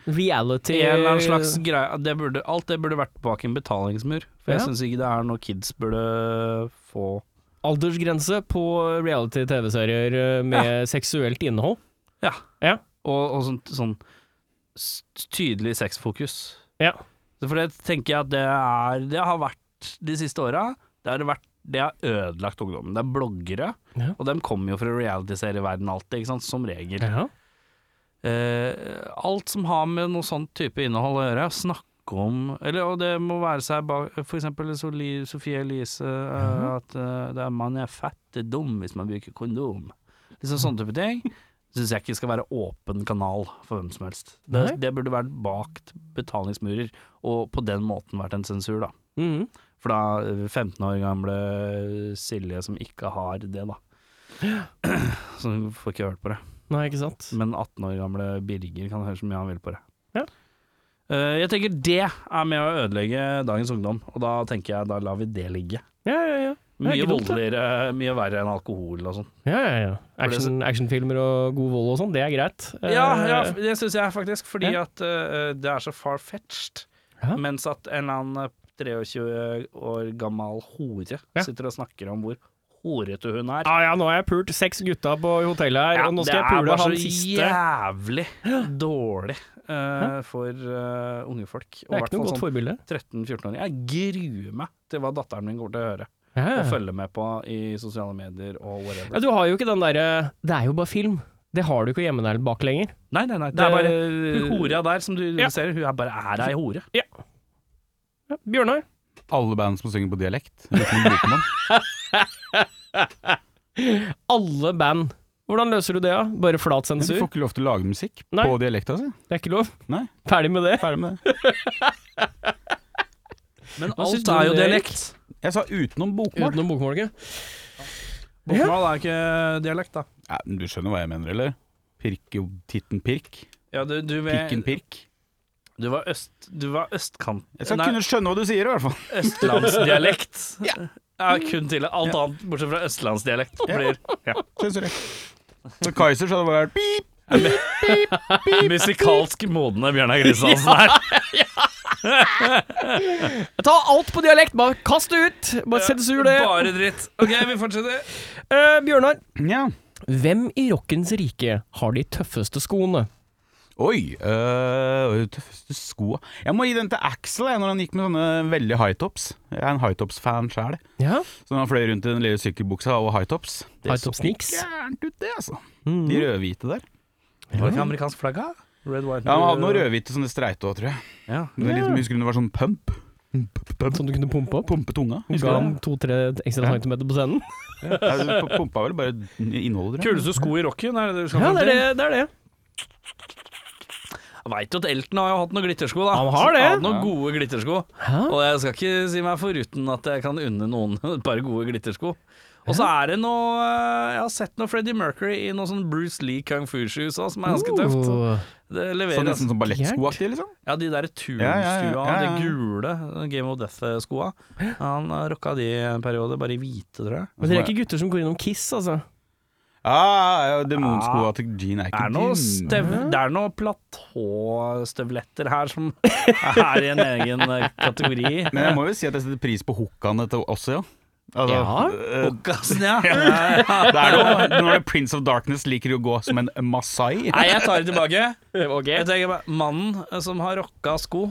Speaker 3: Reality
Speaker 1: En eller annen slags greie det burde, Alt det burde vært bak en betalingsmur. For jeg
Speaker 3: Ja.
Speaker 1: syns ikke det er noe kids burde få
Speaker 3: aldersgrense på reality-TV-serier eh, med seksuelt innhold.
Speaker 1: Ja.
Speaker 3: Ja.
Speaker 1: Og, og sånn, sånn s- tydelig sexfokus.
Speaker 3: Ja.
Speaker 1: Så For det tenker jeg at det, er, det har vært de siste åra. Det, har vært- det har ødelagt ungdommen. Det er bloggere,
Speaker 3: Ja.
Speaker 1: og dem kommer jo fra realityserieverdenen alltid, ikke sant? som regel.
Speaker 3: Ja.
Speaker 1: Eh, alt som har med noe sånn type innhold å gjøre, snakke om eller, Og det må være seg bak For eksempel Soli- Sofie Elise, eh, at eh, det er 'man er fette dum hvis man bruker kondom'. Liksom sånne type ting. Syns jeg ikke skal være åpen kanal for hvem som helst.
Speaker 3: Nei.
Speaker 1: Det, det burde vært bakt betalingsmurer, og på den måten vært en sensur, da.
Speaker 3: Mhm.
Speaker 1: For da eh, 15 år gamle Silje som ikke har det, da. Så hun får ikke hørt på det.
Speaker 3: Nei, ikke sant?
Speaker 1: Men 18 år gamle Birger kan høre så mye han vil på det.
Speaker 3: Ja.
Speaker 1: Eh, jeg tenker det er med å ødelegge dagens ungdom, og da tenker jeg da lar vi det ligge.
Speaker 3: Ja, ja, ja. Det er
Speaker 1: Mye
Speaker 3: ikke dumt, det.
Speaker 1: voldeligere, mye verre enn alkohol og sånn.
Speaker 3: Ja, ja, ja. Action, actionfilmer og god vold og sånn, det er greit. Eh,
Speaker 1: Ja, ja, det syns jeg faktisk, fordi
Speaker 3: Ja.
Speaker 1: at eh, det er så far-fetched.
Speaker 3: Ja.
Speaker 1: Mens at en eller annen 23 år gammel hore
Speaker 3: Ja.
Speaker 1: sitter og snakker om hvor horete hun er.
Speaker 3: Ja, ja, nå har jeg pult seks gutta på hotellet her,
Speaker 1: Ja,
Speaker 3: og nå
Speaker 1: det
Speaker 3: skal jeg
Speaker 1: er
Speaker 3: pule
Speaker 1: bare
Speaker 3: han
Speaker 1: så
Speaker 3: siste.
Speaker 1: jævlig dårlig eh, for eh, unge folk.
Speaker 3: Det er ikke
Speaker 1: sånn
Speaker 3: noe godt forbilde.
Speaker 1: 13-14-åring. Jeg gruer meg til hva datteren min går til å høre
Speaker 3: Ja,
Speaker 1: og
Speaker 3: ja.
Speaker 1: følge med på i sosiale medier og whatever.
Speaker 3: ja, du har jo ikke den derre Det er jo bare film. Det har du ikke hjemme der bak lenger.
Speaker 1: Nei, nei, nei. Det er bare
Speaker 3: Det-
Speaker 1: hun hora der som du
Speaker 3: Ja.
Speaker 1: ser, hun er bare er ei hore.
Speaker 3: Ja, Bjørnar?
Speaker 2: Alle band som synger på dialekt. Uten bokmål.
Speaker 3: Alle band. Hvordan løser du det, da? Bare flat
Speaker 2: Du
Speaker 3: sensur?
Speaker 2: får ikke lov til å lage musikk
Speaker 3: Nei.
Speaker 2: på dialekta si.
Speaker 3: Det er ikke lov?
Speaker 2: Nei.
Speaker 3: Ferdig med det?
Speaker 2: Ferdig med det.
Speaker 1: Men
Speaker 3: Hva synes
Speaker 1: alt
Speaker 3: du
Speaker 1: er
Speaker 3: om
Speaker 1: jo
Speaker 3: det,
Speaker 1: dialekt.
Speaker 2: Jeg sa utenom bokmål.
Speaker 3: Utenom bokmålet?
Speaker 1: Bokmål er ikke dialekt, da.
Speaker 2: Ja, men du skjønner hva jeg mener, eller? Pirke, titten pirk.
Speaker 1: Ja, du, du, vil-
Speaker 2: Pikken pirk.
Speaker 1: du var øst... Du var østkant...
Speaker 2: Jeg skal
Speaker 1: Nei,
Speaker 2: kunne skjønne hva du sier, i hvert fall.
Speaker 1: østlandsdialekt. ja. kun til alt annet bortsett fra østlandsdialekt. Blir
Speaker 2: Sensurert. Så Kaiser så hadde det vært pip.
Speaker 1: musikalsk modne Bjørnar Kristiansen her.
Speaker 3: Ta alt på dialekt! Bare kast det ut! Bare sensur det.
Speaker 1: Bare dritt. OK, vi fortsetter.
Speaker 3: Eh, Bjørnar,
Speaker 2: Ja.
Speaker 3: hvem i rockens rike har de tøffeste skoene?
Speaker 2: Oi! Øh, de tøffeste skoa Jeg må gi den til Axel, jeg, når han gikk med sånne veldig high tops. Jeg er en high tops-fan sjæl.
Speaker 3: Ja,
Speaker 2: Så når han fløy rundt i den lille sykkelbuksa og high tops Det
Speaker 3: High top sneaks.
Speaker 2: gærent ut, det, altså. De rødhvite der.
Speaker 1: Var det ikke amerikansk flagg, da? Red, white
Speaker 2: Ja, Han hadde noe rødhvite som det streite òg, tror jeg.
Speaker 1: Ja.
Speaker 2: Det er liksom, jeg husker det var sånn pump.
Speaker 3: Sånn du kunne pumpe opp.
Speaker 2: Pumpe tunga.
Speaker 3: Hun ga ham to-tre ekstra centimeter på scenen.
Speaker 2: Jeg pumpa vel bare innholdet, tror jeg.
Speaker 1: Kuleste sko i rocken, er det det du skal
Speaker 3: Ja,
Speaker 1: fram
Speaker 3: det er
Speaker 1: til?
Speaker 3: det. det, er det.
Speaker 1: Jeg veit jo at Elton har jo hatt noen glittersko, da.
Speaker 3: Han har det.
Speaker 1: Han hadde noen gode glittersko.
Speaker 3: Hæ?
Speaker 1: Og jeg skal ikke si meg foruten at jeg kan unne noen et par gode glittersko. Og så er det noe eh, Jeg har sett noe Freddie Mercury i noe sånn Bruce Lee kung fu-shoes også, som er ganske tøft.
Speaker 3: Oh. sånn-
Speaker 1: Det
Speaker 2: Sånn
Speaker 1: leveres.
Speaker 2: Nesten som ballettskoaktig, liksom.
Speaker 1: Ja, de der turnstua,
Speaker 2: Ja, ja, ja, ja, ja.
Speaker 1: de gule Game of Death-skoa. Han eh, rocka de en periode, bare i hvite, tror jeg.
Speaker 3: Men dere er ikke gutter som går innom Kiss, altså?
Speaker 2: Ja, ja, Demonskoa til Gene er
Speaker 1: Det
Speaker 2: ikke
Speaker 1: er noe,
Speaker 2: din.
Speaker 1: stev, det er noe platåstøvletter her som er i en egen eh, kategori.
Speaker 2: Men jeg må jo si at jeg setter pris på hookene til oss, ja. Altså,
Speaker 3: Ja.
Speaker 2: eh,
Speaker 1: Gassen, ja. Nei,
Speaker 2: det er noe, når det er Prince of Darkness liker jo å gå som en masai.
Speaker 1: jeg tar det tilbake. Jeg tenker bare, Mannen eh, som har rocka sko,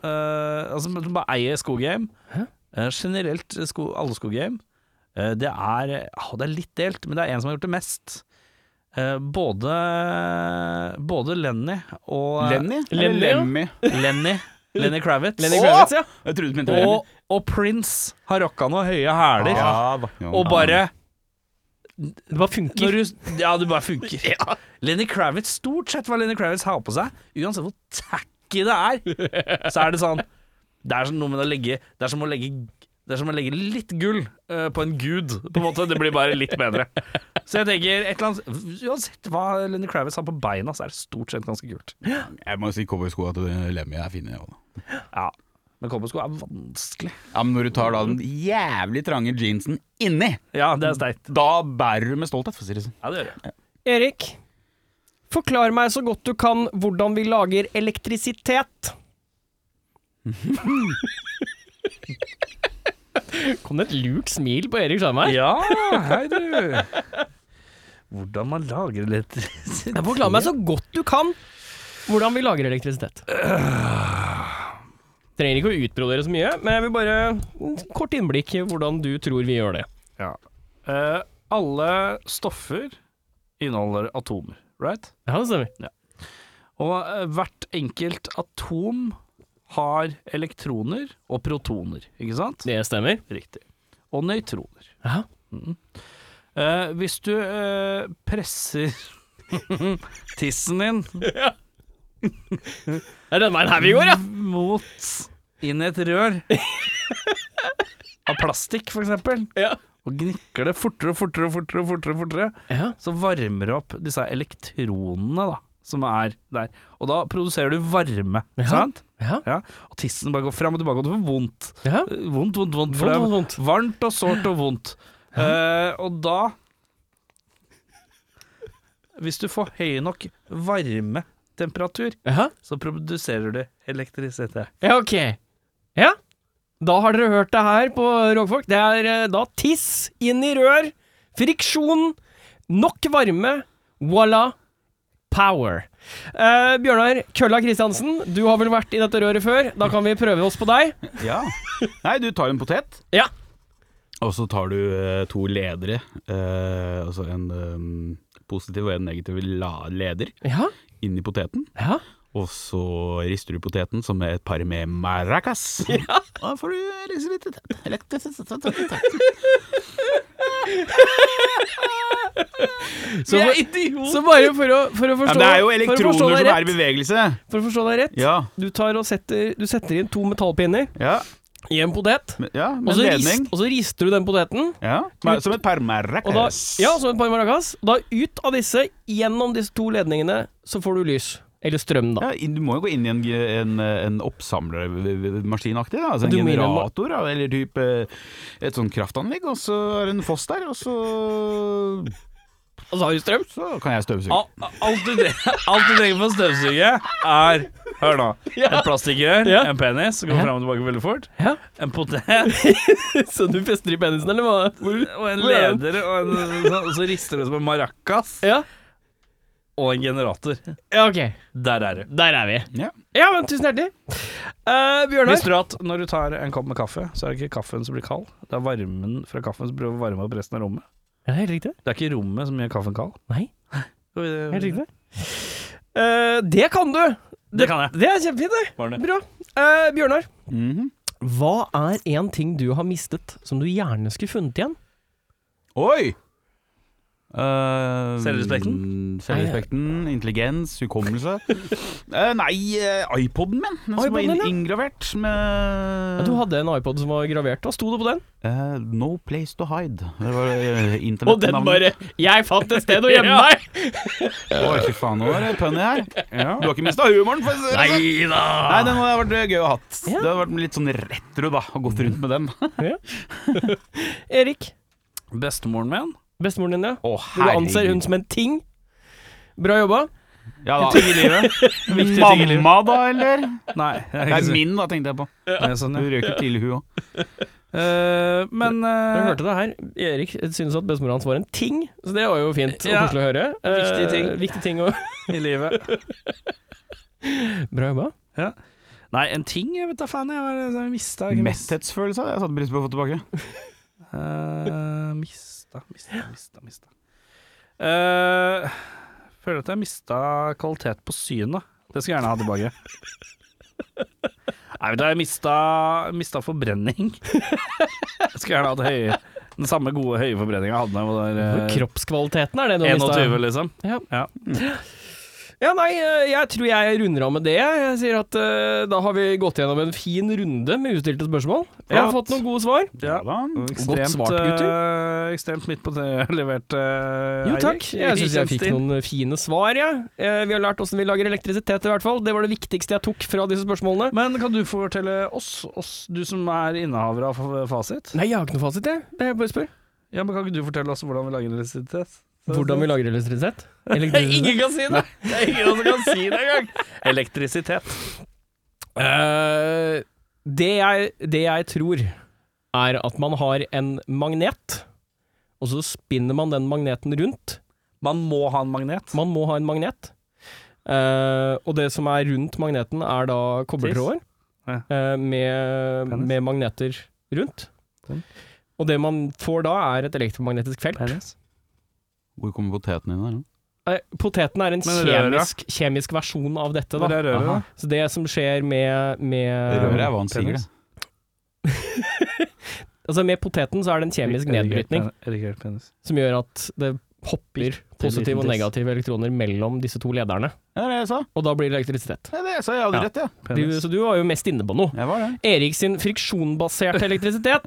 Speaker 1: eh, altså som bare eier skogame eh, Generelt sko, alle skogame, eh, det er ah, Det er litt delt, men det er en som har gjort det mest. Eh, både, både Lenny og eh,
Speaker 2: Lenny? Eller
Speaker 3: Lenny, ja.
Speaker 2: Lemmy?
Speaker 1: Lenny, Lenny Kravitz.
Speaker 3: Lenny
Speaker 1: Og-
Speaker 3: Kravitz, ja.
Speaker 2: Jeg trodde du mente Lemmy.
Speaker 1: Og, og Prince har rocka noen høye hæler.
Speaker 2: Ja, da.
Speaker 1: Og bare
Speaker 3: Det bare funker.
Speaker 1: Når du, ja, det bare funker. Lenny Kravitz, stort sett hva Lenny Kravitz har på seg, uansett hvor tacky det er, så er det sånn Det er sånn noe med å legge Det er som å legge det er som å legge litt gull eh, på en gud, på en måte. Det blir bare litt bedre. Så jeg tenker et eller annet Uansett hva Lenny Kravitz har på beina, så er det stort sett ganske kult.
Speaker 2: Jeg må jo si cowboyskoa til eh, Lemmy er fine. jeg også, da.
Speaker 1: Ja. Men cowboysko er vanskelig.
Speaker 2: Ja, men når du tar da den jævlig trange jeansen inni,
Speaker 1: Ja, det er sterkt.
Speaker 2: da bærer du med stolthet, for å si det sånn.
Speaker 1: Ja, det gjør jeg.
Speaker 3: Erik, forklar meg så godt du kan hvordan vi lager elektrisitet. Kom det et lukt smil på Erik Skjermar?
Speaker 1: Ja, hei du. Hvordan man lager elektrisitet
Speaker 3: Ja, Forklar meg så godt du kan hvordan vi lager elektrisitet. Trenger ikke å utbrodere så mye, men jeg vil bare mm, kort innblikk i hvordan du tror vi gjør det.
Speaker 1: Ja. Eh, alle stoffer inneholder atomer, right?
Speaker 3: Ja, det stemmer.
Speaker 1: Og eh, hvert enkelt atom har elektroner og protoner, ikke sant?
Speaker 3: Det stemmer.
Speaker 1: Riktig. Og nøytroner. Mm.
Speaker 3: Ja.
Speaker 1: Eh, hvis du eh, presser tissen din
Speaker 3: Det er den veien her vi går, ja!
Speaker 1: mot inn i et rør av plastikk, for eksempel,
Speaker 3: Ja.
Speaker 1: og gnikker det fortere og fortere og fortere, og fortere, og fortere
Speaker 3: Ja,
Speaker 1: så varmer det opp disse her elektronene da, som er der. Og da produserer du varme, sant?
Speaker 3: ja,
Speaker 1: Ja. Og tissen bare går fram og tilbake, og det får vondt.
Speaker 3: ja.
Speaker 1: Vondt, vondt, vondt. For
Speaker 3: Vondt,
Speaker 1: det er
Speaker 3: vondt,
Speaker 1: Varmt og sårt og vondt. Eh, og da Hvis du får høy nok varmetemperatur,
Speaker 3: Ja,
Speaker 1: så produserer du elektrisitet.
Speaker 3: ja ok. Ja, da har dere hørt det her på Rogfolk. Det er eh, da tiss inn i rør, friksjon, nok varme, voila, power. Eh, Bjørnar Kølla Kristiansen, du har vel vært i dette røret før? Da kan vi prøve oss på deg.
Speaker 2: Ja. Nei, du tar en potet,
Speaker 3: Ja.
Speaker 2: og så tar du eh, to ledere. eh, altså en eh, positiv og en negativ la leder
Speaker 3: Ja,
Speaker 2: inni poteten.
Speaker 3: ja.
Speaker 2: Og så rister du poteten som et par med maracas. Ja. Da får du elektrisitet. Elektrisitet.
Speaker 3: Så, for, så bare for å, for å
Speaker 2: Ja,
Speaker 3: forstå
Speaker 2: men det er jo
Speaker 3: for å forstå
Speaker 2: elektroner
Speaker 3: deg
Speaker 2: som er i
Speaker 3: rett,
Speaker 2: bevegelse.
Speaker 3: For å forstå deg rett,
Speaker 2: Ja,
Speaker 3: du, tar og setter, du setter inn to metallpinner
Speaker 2: ja,
Speaker 3: i en potet,
Speaker 2: men- ja
Speaker 3: og
Speaker 2: med
Speaker 3: så,
Speaker 2: ledning.
Speaker 3: rist, og så rister du den poteten.
Speaker 2: Ja,
Speaker 3: Ut.
Speaker 2: som et par
Speaker 3: Og da,
Speaker 2: maracas.
Speaker 3: ja, altså- som et par maracas. Og Da ut av disse, gjennom disse to ledningene, så får du lys. Eller strøm, da.
Speaker 2: Ja, inn- du må jo gå inn i en, en, en oppsamlermaskinaktig, da. Altså en
Speaker 3: Du må inn i en ma-
Speaker 2: generator, da, eller type et sånn kraftanlegg, og så er det en foss der, og så,
Speaker 3: Og så har du strøm.
Speaker 2: så kan jeg
Speaker 3: Ah.
Speaker 2: støvsuge.
Speaker 1: Al- Alt du, tre- alt du trenger for å støvsuge, er Hør nå. Et plastikkrør,
Speaker 3: Ja.
Speaker 1: en penis som går
Speaker 3: Ja.
Speaker 1: fram og tilbake veldig fort.
Speaker 3: Ja.
Speaker 1: En potet
Speaker 3: Så du fester i penisen, eller hva? Hvor?
Speaker 1: og en
Speaker 3: Hvor er den?
Speaker 1: leder, og, en, så, og så rister det som en maracas.
Speaker 3: Ja.
Speaker 1: Og en generator.
Speaker 3: ja, ok.
Speaker 1: Der er du.
Speaker 3: Der er vi.
Speaker 2: Ja.
Speaker 3: Ja, men tusen hjertelig. Eh, Bjørnar.
Speaker 1: Visste du at når du tar en kopp med kaffe, så er det ikke kaffen som blir kald, det er varmen fra kaffen som prøver å varme opp resten av rommet.
Speaker 3: Ja, helt riktig.
Speaker 1: Det er ikke rommet som gjør kaffen kald.
Speaker 3: Nei,
Speaker 1: Skal vi-
Speaker 3: helt riktig. Eh, det kan du!
Speaker 1: Det kan jeg.
Speaker 3: Det er kjempefint,
Speaker 1: Var
Speaker 3: det.
Speaker 1: det.
Speaker 3: Bra. Eh, Bjørnar,
Speaker 2: Mhm.
Speaker 3: hva er en ting du har mistet som du gjerne skulle funnet igjen?
Speaker 2: Oi! Eh,
Speaker 1: Selvrespekten?
Speaker 2: Selvrespekten, intelligens, hukommelse. Eh, nei, eh, iPoden min. Den som var
Speaker 3: iPoden din,
Speaker 2: in
Speaker 3: ja.
Speaker 2: inngravert med
Speaker 3: Ja, Du hadde en iPod som var gravert. Hva sto det på den?
Speaker 2: Eh, No place to hide. Det var eh, internettnavnet.
Speaker 3: Og den bare 'Jeg fant et sted å gjemme meg'!
Speaker 2: Å, fy faen, nå er det punny her. Du har ikke mista humoren, for å si det sånn. Nei, den hadde vært eh, gøy å ha. Det
Speaker 3: Ja.
Speaker 2: hadde vært litt sånn retro, da, å gått rundt med den.
Speaker 3: Erik,
Speaker 1: Bestemoren min?
Speaker 3: bestemoren din, ja.
Speaker 2: Å,
Speaker 3: Du anser hun som en ting. Bra jobba.
Speaker 2: Ja, da. Ting i livet. Mamma, da, eller?
Speaker 1: Nei. Jeg
Speaker 2: Nei,
Speaker 1: er ikke
Speaker 2: min, da, tenkte jeg på.
Speaker 1: Nei, sånn,
Speaker 2: Du
Speaker 1: ja.
Speaker 2: røker til hun òg.
Speaker 1: Eh, men
Speaker 3: Dere
Speaker 1: eh,
Speaker 3: hørte det her. Erik syntes at bestemor hans var en ting, så det var jo fint og
Speaker 1: Ja.
Speaker 3: koselig å høre.
Speaker 1: Viktig ting.
Speaker 3: Eh, viktig ting å
Speaker 1: i livet
Speaker 3: Bra jobba.
Speaker 1: Nei, en ting? Jeg vet da faen. Jeg, var- jeg mista ikke mest.
Speaker 2: Metthetsfølelse hadde jeg satt pris på å få tilbake.
Speaker 1: Eh, mista, mista, mista. mista. Eh, føler at jeg mista kvalitet på synet. Det skulle jeg gjerne ha tilbake. Nei, vet du, jeg mista, mista forbrenning. Jeg skulle gjerne hatt høye, den samme gode høye forbrenninga jeg hadde da jeg var der,
Speaker 3: Kroppskvaliteten er det du
Speaker 1: eh,
Speaker 3: har mistet.
Speaker 1: 21, liksom.
Speaker 3: Ja, nei, eh, jeg tror jeg runder av med det. Jeg sier at eh, da har vi gått gjennom en fin runde med utstilte spørsmål. Vi har
Speaker 1: Ja.
Speaker 3: fått noen gode svar.
Speaker 1: Ja.
Speaker 2: da.
Speaker 3: Godt svart, gutter.
Speaker 1: eh, ekstremt midt på det levert, eh,
Speaker 3: Jo,
Speaker 1: Eirik.
Speaker 3: takk. Jeg syns jeg fikk
Speaker 1: Kjenstin.
Speaker 3: noen eh, fine svar, jeg. Eh, Vi har lært åssen vi lager elektrisitet, i hvert fall. Det var det viktigste jeg tok fra disse spørsmålene.
Speaker 1: Men kan du fortelle oss, oss du som er innehaver av f- fasit
Speaker 3: Nei, jeg har ikke noe fasit, jeg. Det er bare å spørre.
Speaker 1: Ja, men Kan ikke du fortelle oss hvordan vi lager elektrisitet?
Speaker 3: Hvordan vi lager elektrisitet? Elektrisitet?
Speaker 1: Ingen kan si det! Det er ingen som kan si det engang! Elektrisitet.
Speaker 3: Eh, det, jeg, det jeg tror, er at man har en magnet, og så spinner man den magneten rundt.
Speaker 1: Man må ha en magnet.
Speaker 3: Man må ha en magnet. Eh, og det som er rundt magneten, er da kobbertråder
Speaker 1: Ja.
Speaker 3: eh, med,
Speaker 1: Penis.
Speaker 3: med magneter rundt.
Speaker 1: Sånn.
Speaker 3: Og det man får da, er et elektromagnetisk felt.
Speaker 2: Hvor kommer poteten inn her? da?
Speaker 3: Eh, Poteten er en
Speaker 1: Men røret?
Speaker 3: kjemisk, kjemisk versjon av dette.
Speaker 1: Hvor
Speaker 3: Da.
Speaker 1: er røret,
Speaker 2: Aha.
Speaker 1: da?
Speaker 3: Så det som skjer med,
Speaker 2: Røret
Speaker 3: med,
Speaker 2: er hva han sier, det.
Speaker 1: Penis.
Speaker 3: altså med poteten, så er det en kjemisk nedbrytning.
Speaker 1: Erigert penis.
Speaker 3: som gjør at det hopper positive og negative elektroner mellom disse to lederne.
Speaker 2: Ja, det er det jeg sa.
Speaker 3: Og da blir det elektrisitet.
Speaker 2: Det er det jeg sa. Jeg hadde
Speaker 3: Ja.
Speaker 2: rett, ja.
Speaker 3: Du,
Speaker 1: penis.
Speaker 3: så du var jo mest inne på noe.
Speaker 2: Jeg var det.
Speaker 3: Erik sin friksjonbaserte elektrisitet,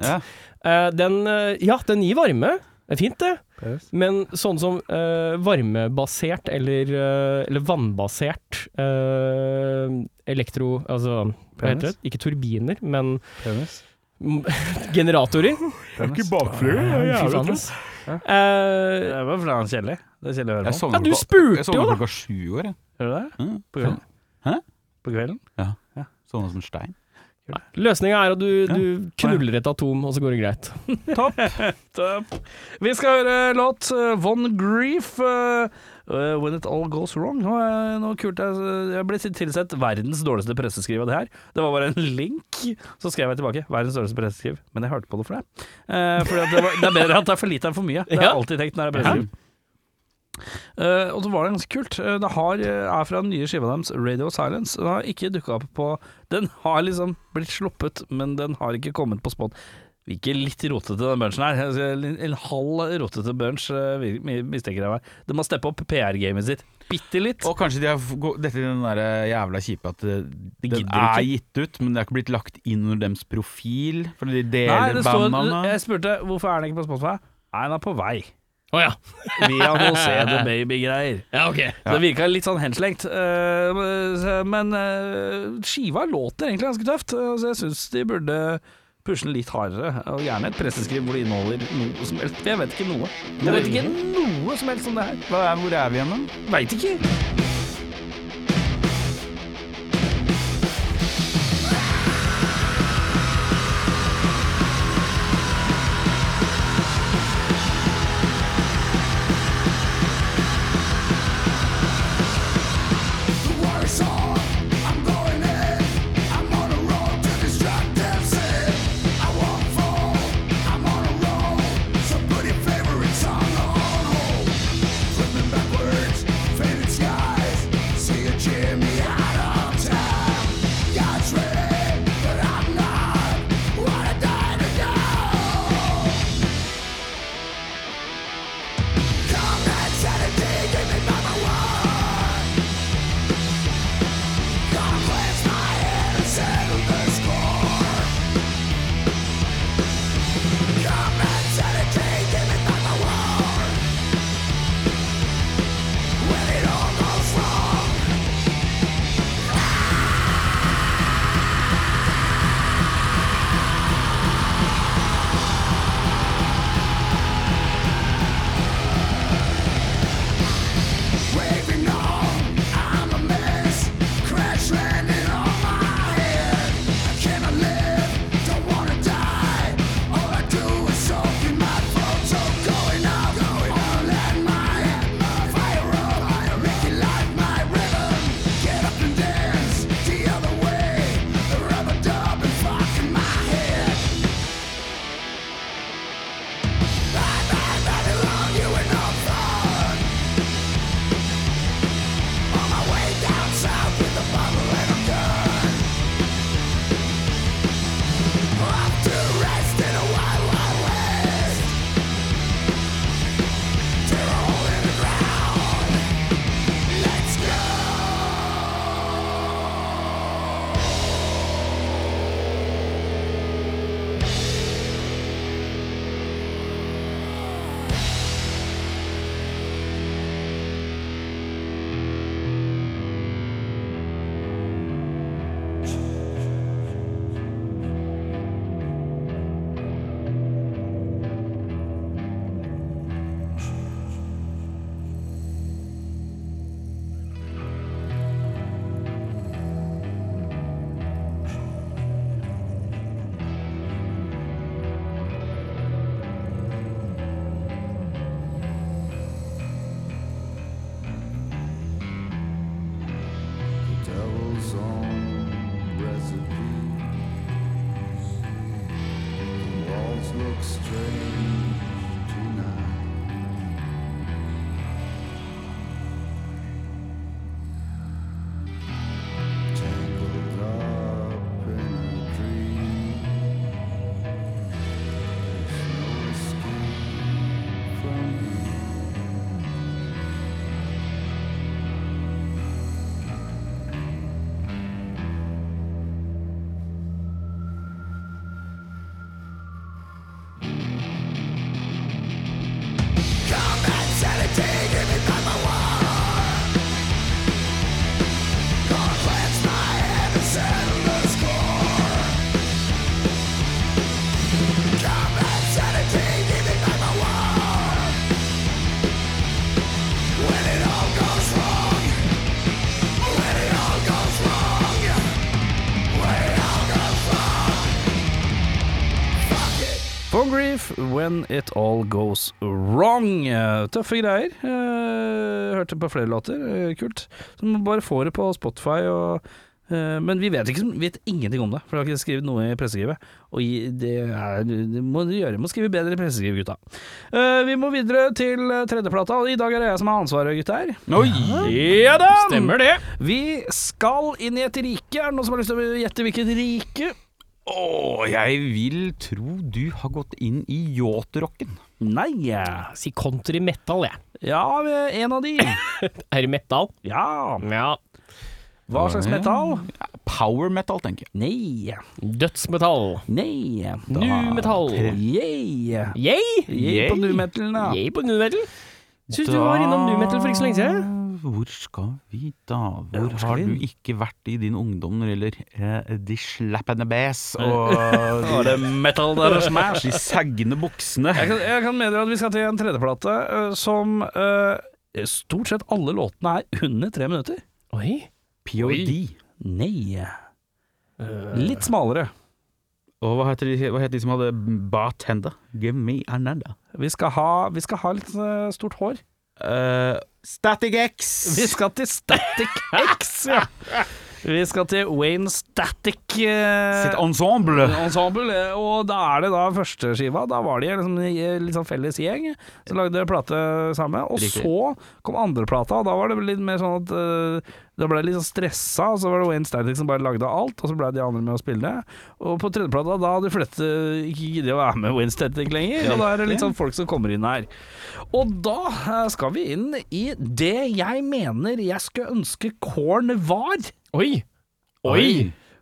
Speaker 2: Ja.
Speaker 3: eh, den, eh, ja, den gir varme. Det er fint, det.
Speaker 1: Penis.
Speaker 3: Men sånn som eh, varmebasert eller, eh, eller vannbasert eh, elektro... Altså, hva heter
Speaker 1: Penis.
Speaker 3: det? Ikke turbiner, men
Speaker 1: penis.
Speaker 3: generatorer.
Speaker 1: penis.
Speaker 3: Fy faen, ass. Eh,
Speaker 1: Det var fordi han er kjedelig. Det er kjedelig å høre
Speaker 2: Jeg
Speaker 1: på.
Speaker 2: sovna
Speaker 3: Ja, du
Speaker 2: klokka-
Speaker 3: spurte
Speaker 2: jeg sovna
Speaker 3: jo, da.
Speaker 2: klokka sju i år, jeg.
Speaker 1: Gjør du det?
Speaker 2: Ja.
Speaker 1: På kvelden?
Speaker 2: Hæ?
Speaker 1: På kvelden?
Speaker 2: Sovna som en stein.
Speaker 3: Løsninga er at du,
Speaker 2: Ja.
Speaker 3: du knuller et atom, og så går det greit.
Speaker 1: Topp. Vi skal høre låt eh, Von Grief, eh, eh, 'When It All Goes Wrong'. Og, eh, noe kult jeg, jeg ble tilsett verdens dårligste presseskriv av det her. Det var bare en link, så skrev jeg tilbake 'verdens dårligste presseskriv'. Men jeg hørte på det for det. Eh, fordi at det, var, det er bedre at det er for lite enn for mye. Det har jeg
Speaker 3: Ja.
Speaker 1: alltid tenkt når det er presseskriv. Eh, og så var det ganske kult. Eh, det har, eh, er fra den nye skiva deres, 'Radio Silence'. Den har ikke dukka opp på Den har liksom blitt sluppet, men den har ikke kommet på spot. Ikke litt rotete den bunchen her. Altså, En, en halv rotete bunch, eh, vi- vi- mistenker jeg meg. De må steppe opp PR-gamet sitt bitte litt.
Speaker 2: Og kanskje de har f- gå- dette er den der jævla kjipe at det, den
Speaker 1: gidder
Speaker 2: er
Speaker 1: ikke.
Speaker 2: gitt ut, men det er ikke blitt lagt inn under dems profil, fordi de
Speaker 1: Nei,
Speaker 2: deler
Speaker 1: det står,
Speaker 2: bandene.
Speaker 1: jeg spurte hvorfor er den ikke på Spotify. Nei, den er på vei.
Speaker 3: Å ja.
Speaker 1: Via noe Se The Baby-greier.
Speaker 3: ja, ok.
Speaker 1: Så Det virka litt sånn henslengt. Eh, så- Men eh, skiva låter egentlig ganske tøft, eh, så jeg syns de burde pushe den litt hardere. Og gjerne et presseskriv hvor det inneholder noe som helst. Jeg vet ikke noe. Jeg vet ikke noe som helst om det her.
Speaker 2: Hva er, hvor er vi igjen, da?
Speaker 1: Veit ikke.
Speaker 7: Faded sky
Speaker 1: Life When It All Goes Wrong. Eh, Tøffe greier. Eh, Hørte på flere låter. Eh, Kult. Så man bare får det på Spotify og eh, men vi vet, ikke, vet ingenting om det, for det har ikke skrevet noe i presseskrivet. Og i- det, er, det må du gjøre, må skrive bedre i presseskriv, gutta. Eh, vi må videre til eh, tredjeplata, og i dag er det jeg som har ansvaret, gutter. Ja da!
Speaker 3: Stemmer det.
Speaker 1: Vi skal inn i et rike. Er det noen som har lyst til å gjette hvilket rike?
Speaker 2: Å, jeg vil tro du har gått inn i yacht-rocken.
Speaker 1: Nei.
Speaker 3: Si country metal, jeg.
Speaker 1: Ja, vi er en av de.
Speaker 3: Er det metal?
Speaker 1: Ja.
Speaker 3: Ja.
Speaker 1: Hva slags metall?
Speaker 2: Power metal, tenker jeg.
Speaker 1: Nei.
Speaker 3: Dødsmetall.
Speaker 1: Nei.
Speaker 3: Nu metal.
Speaker 1: Yeah.
Speaker 3: Yay!
Speaker 1: Yeah på numetalen, da.
Speaker 3: Yay på nu metal. Syns du var innom nu metal for ikke så lenge siden.
Speaker 2: Hvor skal vi da?
Speaker 1: Ja,
Speaker 2: Hvor
Speaker 1: hvor skal
Speaker 2: har
Speaker 1: vi
Speaker 2: du
Speaker 1: inn?
Speaker 2: ikke vært i din ungdom når det gjelder eh, de slappende bass og de,
Speaker 1: det metal der og smash?
Speaker 2: de sagne buksene?
Speaker 1: Jeg kan, jeg kan meddele at vi skal til en tredjeplate eh, som eh, Stort sett alle låtene er under tre minutter.
Speaker 3: Oi.
Speaker 2: POD.
Speaker 1: Nei. Litt smalere.
Speaker 2: Og hva heter, de, hva heter de som hadde bartender? Give me another.
Speaker 1: Vi skal ha, vi skal ha litt eh, stort hår.
Speaker 2: Uh, Static X!
Speaker 1: Vi skal til Static X, ja. Vi skal til Wayne Static eh,
Speaker 2: Sitt ensemble!
Speaker 1: Ensemble. eh, Og da er det da førsteskiva. Da var de liksom i en litt sånn felles gjeng som lagde plate sammen. Og
Speaker 2: Riktig.
Speaker 1: så kom andreplata, og da var det vel litt mer sånn at eh, Da ble jeg litt sånn stressa, og så var det Wayne Static som bare lagde alt, og så ble de andre med å spille. Og på tredjeplata, da hadde de fleste ikke giddet å være med Wayne Static lenger, og da er det litt sånn folk som kommer inn her. Og da eh, skal vi inn i det jeg mener jeg skulle ønske Korn var.
Speaker 3: Oi.
Speaker 2: Oi!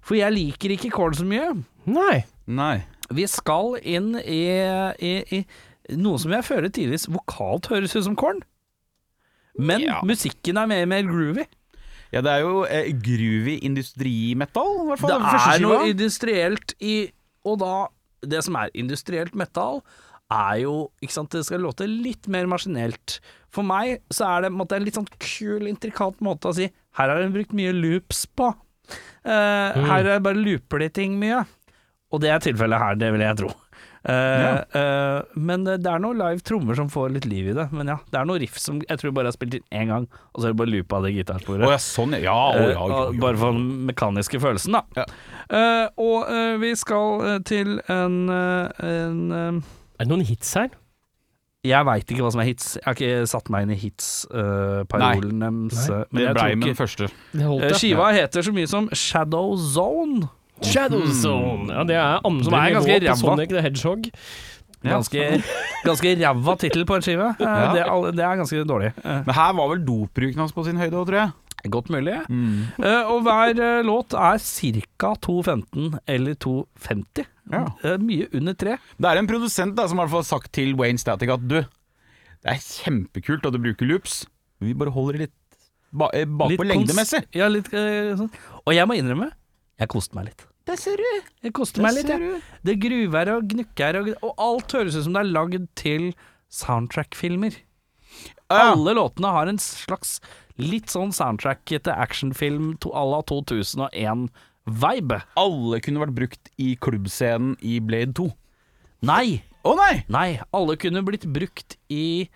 Speaker 1: For jeg liker ikke Korn så mye.
Speaker 3: Nei.
Speaker 2: Nei.
Speaker 1: Vi skal inn i, i, i noe som jeg føler tidligvis vokalt høres ut som korn. Men
Speaker 2: Ja.
Speaker 1: musikken er mer og mer groovy.
Speaker 2: Ja, det er jo eh, groovy industrimetal, i hvert fall.
Speaker 1: Det
Speaker 2: den første
Speaker 1: er noe
Speaker 2: skiva.
Speaker 1: industrielt i Og da Det som er industrielt metal, er jo Ikke sant, det skal låte litt mer maskinelt. For meg så er det på en måte, en litt sånn kul, intrikat måte å si Her har hun brukt mye loops på. Eh,
Speaker 2: Mm.
Speaker 1: Her er bare looper de ting mye. Og det er tilfellet her, det vil jeg tro. Eh, eh, men det er noen live trommer som får litt liv i det. Men ja, det er noe riff som jeg tror bare er spilt inn én gang, og så er det bare loop av det gitarsporet.
Speaker 2: Å ja, sånn ja. Ja, å,
Speaker 1: Eh,
Speaker 2: ja, ja,
Speaker 1: og
Speaker 2: ja.
Speaker 1: Bare for den mekaniske følelsen, da.
Speaker 2: Ja.
Speaker 1: Eh, og eh, vi skal eh, til en, eh, en eh,
Speaker 3: Er det noen hits her?
Speaker 1: Jeg veit ikke hva som er hits. Jeg har ikke satt meg inn i hits-parolen deres. eh, men
Speaker 2: Det
Speaker 1: jeg
Speaker 2: blei
Speaker 1: tror
Speaker 2: med den
Speaker 1: ikke-
Speaker 2: første.
Speaker 3: Det holdt,
Speaker 1: Eh,
Speaker 3: ja.
Speaker 1: Skiva heter så mye som Shadow Zone.
Speaker 3: Shadow Zone. Ja, det Hmm. er andre
Speaker 1: Som er ganske
Speaker 3: nivå på
Speaker 1: ræva.
Speaker 3: Sonic the Hedgehog.
Speaker 1: Ganske, ganske ræva tittel på en skive. Eh, det, er alle- det er ganske dårlig. Eh,
Speaker 2: Men her var vel dopbruken hans på sin høyde òg, tror jeg.
Speaker 1: godt mulig.
Speaker 2: Mm.
Speaker 1: Eh, og hver eh, låt er ca. 2.15 eller 2.50.
Speaker 2: Ja.
Speaker 1: Eh, mye under tre.
Speaker 2: Det er en produsent da, som i hvert fall har sagt til Wayne Static at du, det er kjempekult at du bruker loops, men vi bare holder det litt ba eh, bakpå
Speaker 1: Litt
Speaker 2: lengdemessig.
Speaker 1: kons- Ja, litt eh, sånn. Og jeg må innrømme, jeg koste meg litt.
Speaker 2: Det ser du.
Speaker 1: Jeg koste meg litt, jeg. Det gruver og gnukker, og, og alt høres ut som det er lagd til soundtrack-filmer.
Speaker 2: Ja.
Speaker 1: Alle låtene har en slags litt sånn soundtrack til actionfilm to- à la 2001-vibe.
Speaker 2: Alle kunne vært brukt i klubbscenen i Blade 2.
Speaker 1: Nei,
Speaker 2: Å nei!
Speaker 1: nei, alle kunne blitt brukt i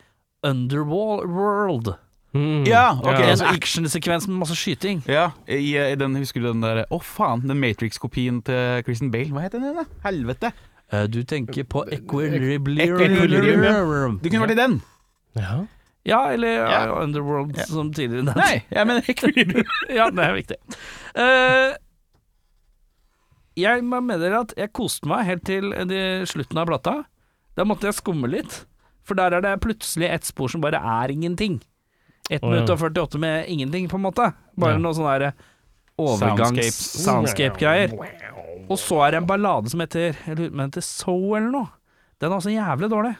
Speaker 1: Underworld.
Speaker 2: Ja, ok.
Speaker 1: En
Speaker 2: altså, ikke-
Speaker 1: actionsekvens med masse skyting.
Speaker 2: Ja, i, i den, husker du den der Å faen, den Matrix-kopien til Christian Bale. Hva heter den? da? Helvete.
Speaker 1: Eh, Du tenker på
Speaker 2: Equilibrium,
Speaker 1: Equilibrium.
Speaker 2: Du kunne vært i den.
Speaker 3: Ja.
Speaker 1: Ja, eller ja. Underworld som tidligere nevnt.
Speaker 2: Nei, jeg mener Equilibrium.
Speaker 1: ja, det er viktig. Eh, jeg må meddele at jeg koste meg helt til de- slutten av plata. Da måtte jeg skumme litt, for der er det plutselig et spor som bare er ingenting. 1
Speaker 3: Å, ja.
Speaker 1: minutt og 48 med ingenting, på en måte. Bare
Speaker 3: Ja.
Speaker 1: noe sånn derre overgangs-soundscape-greier. Og så er det en ballade som heter Jeg lurer på om den heter So eller noe. Den er også jævlig dårlig.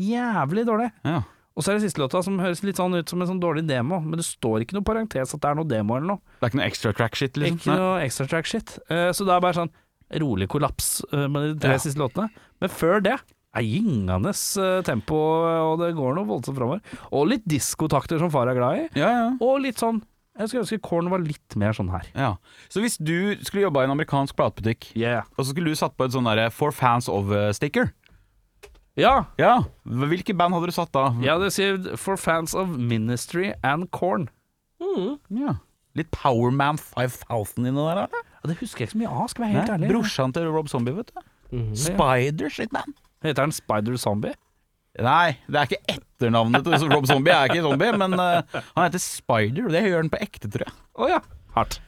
Speaker 1: Jævlig dårlig.
Speaker 2: Ja.
Speaker 1: Og så er det siste låta som høres litt sånn ut som en sånn dårlig demo, men det står ikke noe parentes at det er noe demo eller noe.
Speaker 2: Det er ikke noe extra track shit, liksom.
Speaker 1: Ikke
Speaker 2: Nei.
Speaker 1: noe extra track shit. Eh, så det er bare sånn rolig kollaps eh, med de tre
Speaker 2: Ja.
Speaker 1: siste låtene. Men før det er gyngende eh, tempo, og det går noe voldsomt framover. Og litt diskotakter som far er glad i,
Speaker 2: Ja, ja.
Speaker 1: og litt sånn Jeg skulle ønske Korn var litt mer sånn her.
Speaker 2: Ja. Så hvis du skulle jobba i en amerikansk platebutikk,
Speaker 1: Yeah.
Speaker 2: eh, og så skulle du satt på et sånn derre For fans of-sticker
Speaker 1: Ja,
Speaker 2: Ja, Hvilke band hadde du satt da?
Speaker 1: jeg hadde skrevet 'For fans of Ministry and Corn'.
Speaker 2: Ja. Litt Powerman 5000 inni der, da?
Speaker 1: Ja, det husker jeg ikke så mye av, skal jeg være helt
Speaker 2: Nei,
Speaker 1: ærlig.
Speaker 2: brorsan til Rob Zombie, vet du. Spider shit, man.
Speaker 1: Heter han Spider Zombie?
Speaker 2: Nei, det er ikke etternavnet til Rob Zombie. Jeg er ikke zombie, men eh, han heter Spider, og det gjør han på ekte, tror jeg.
Speaker 1: Å ja. Hardt.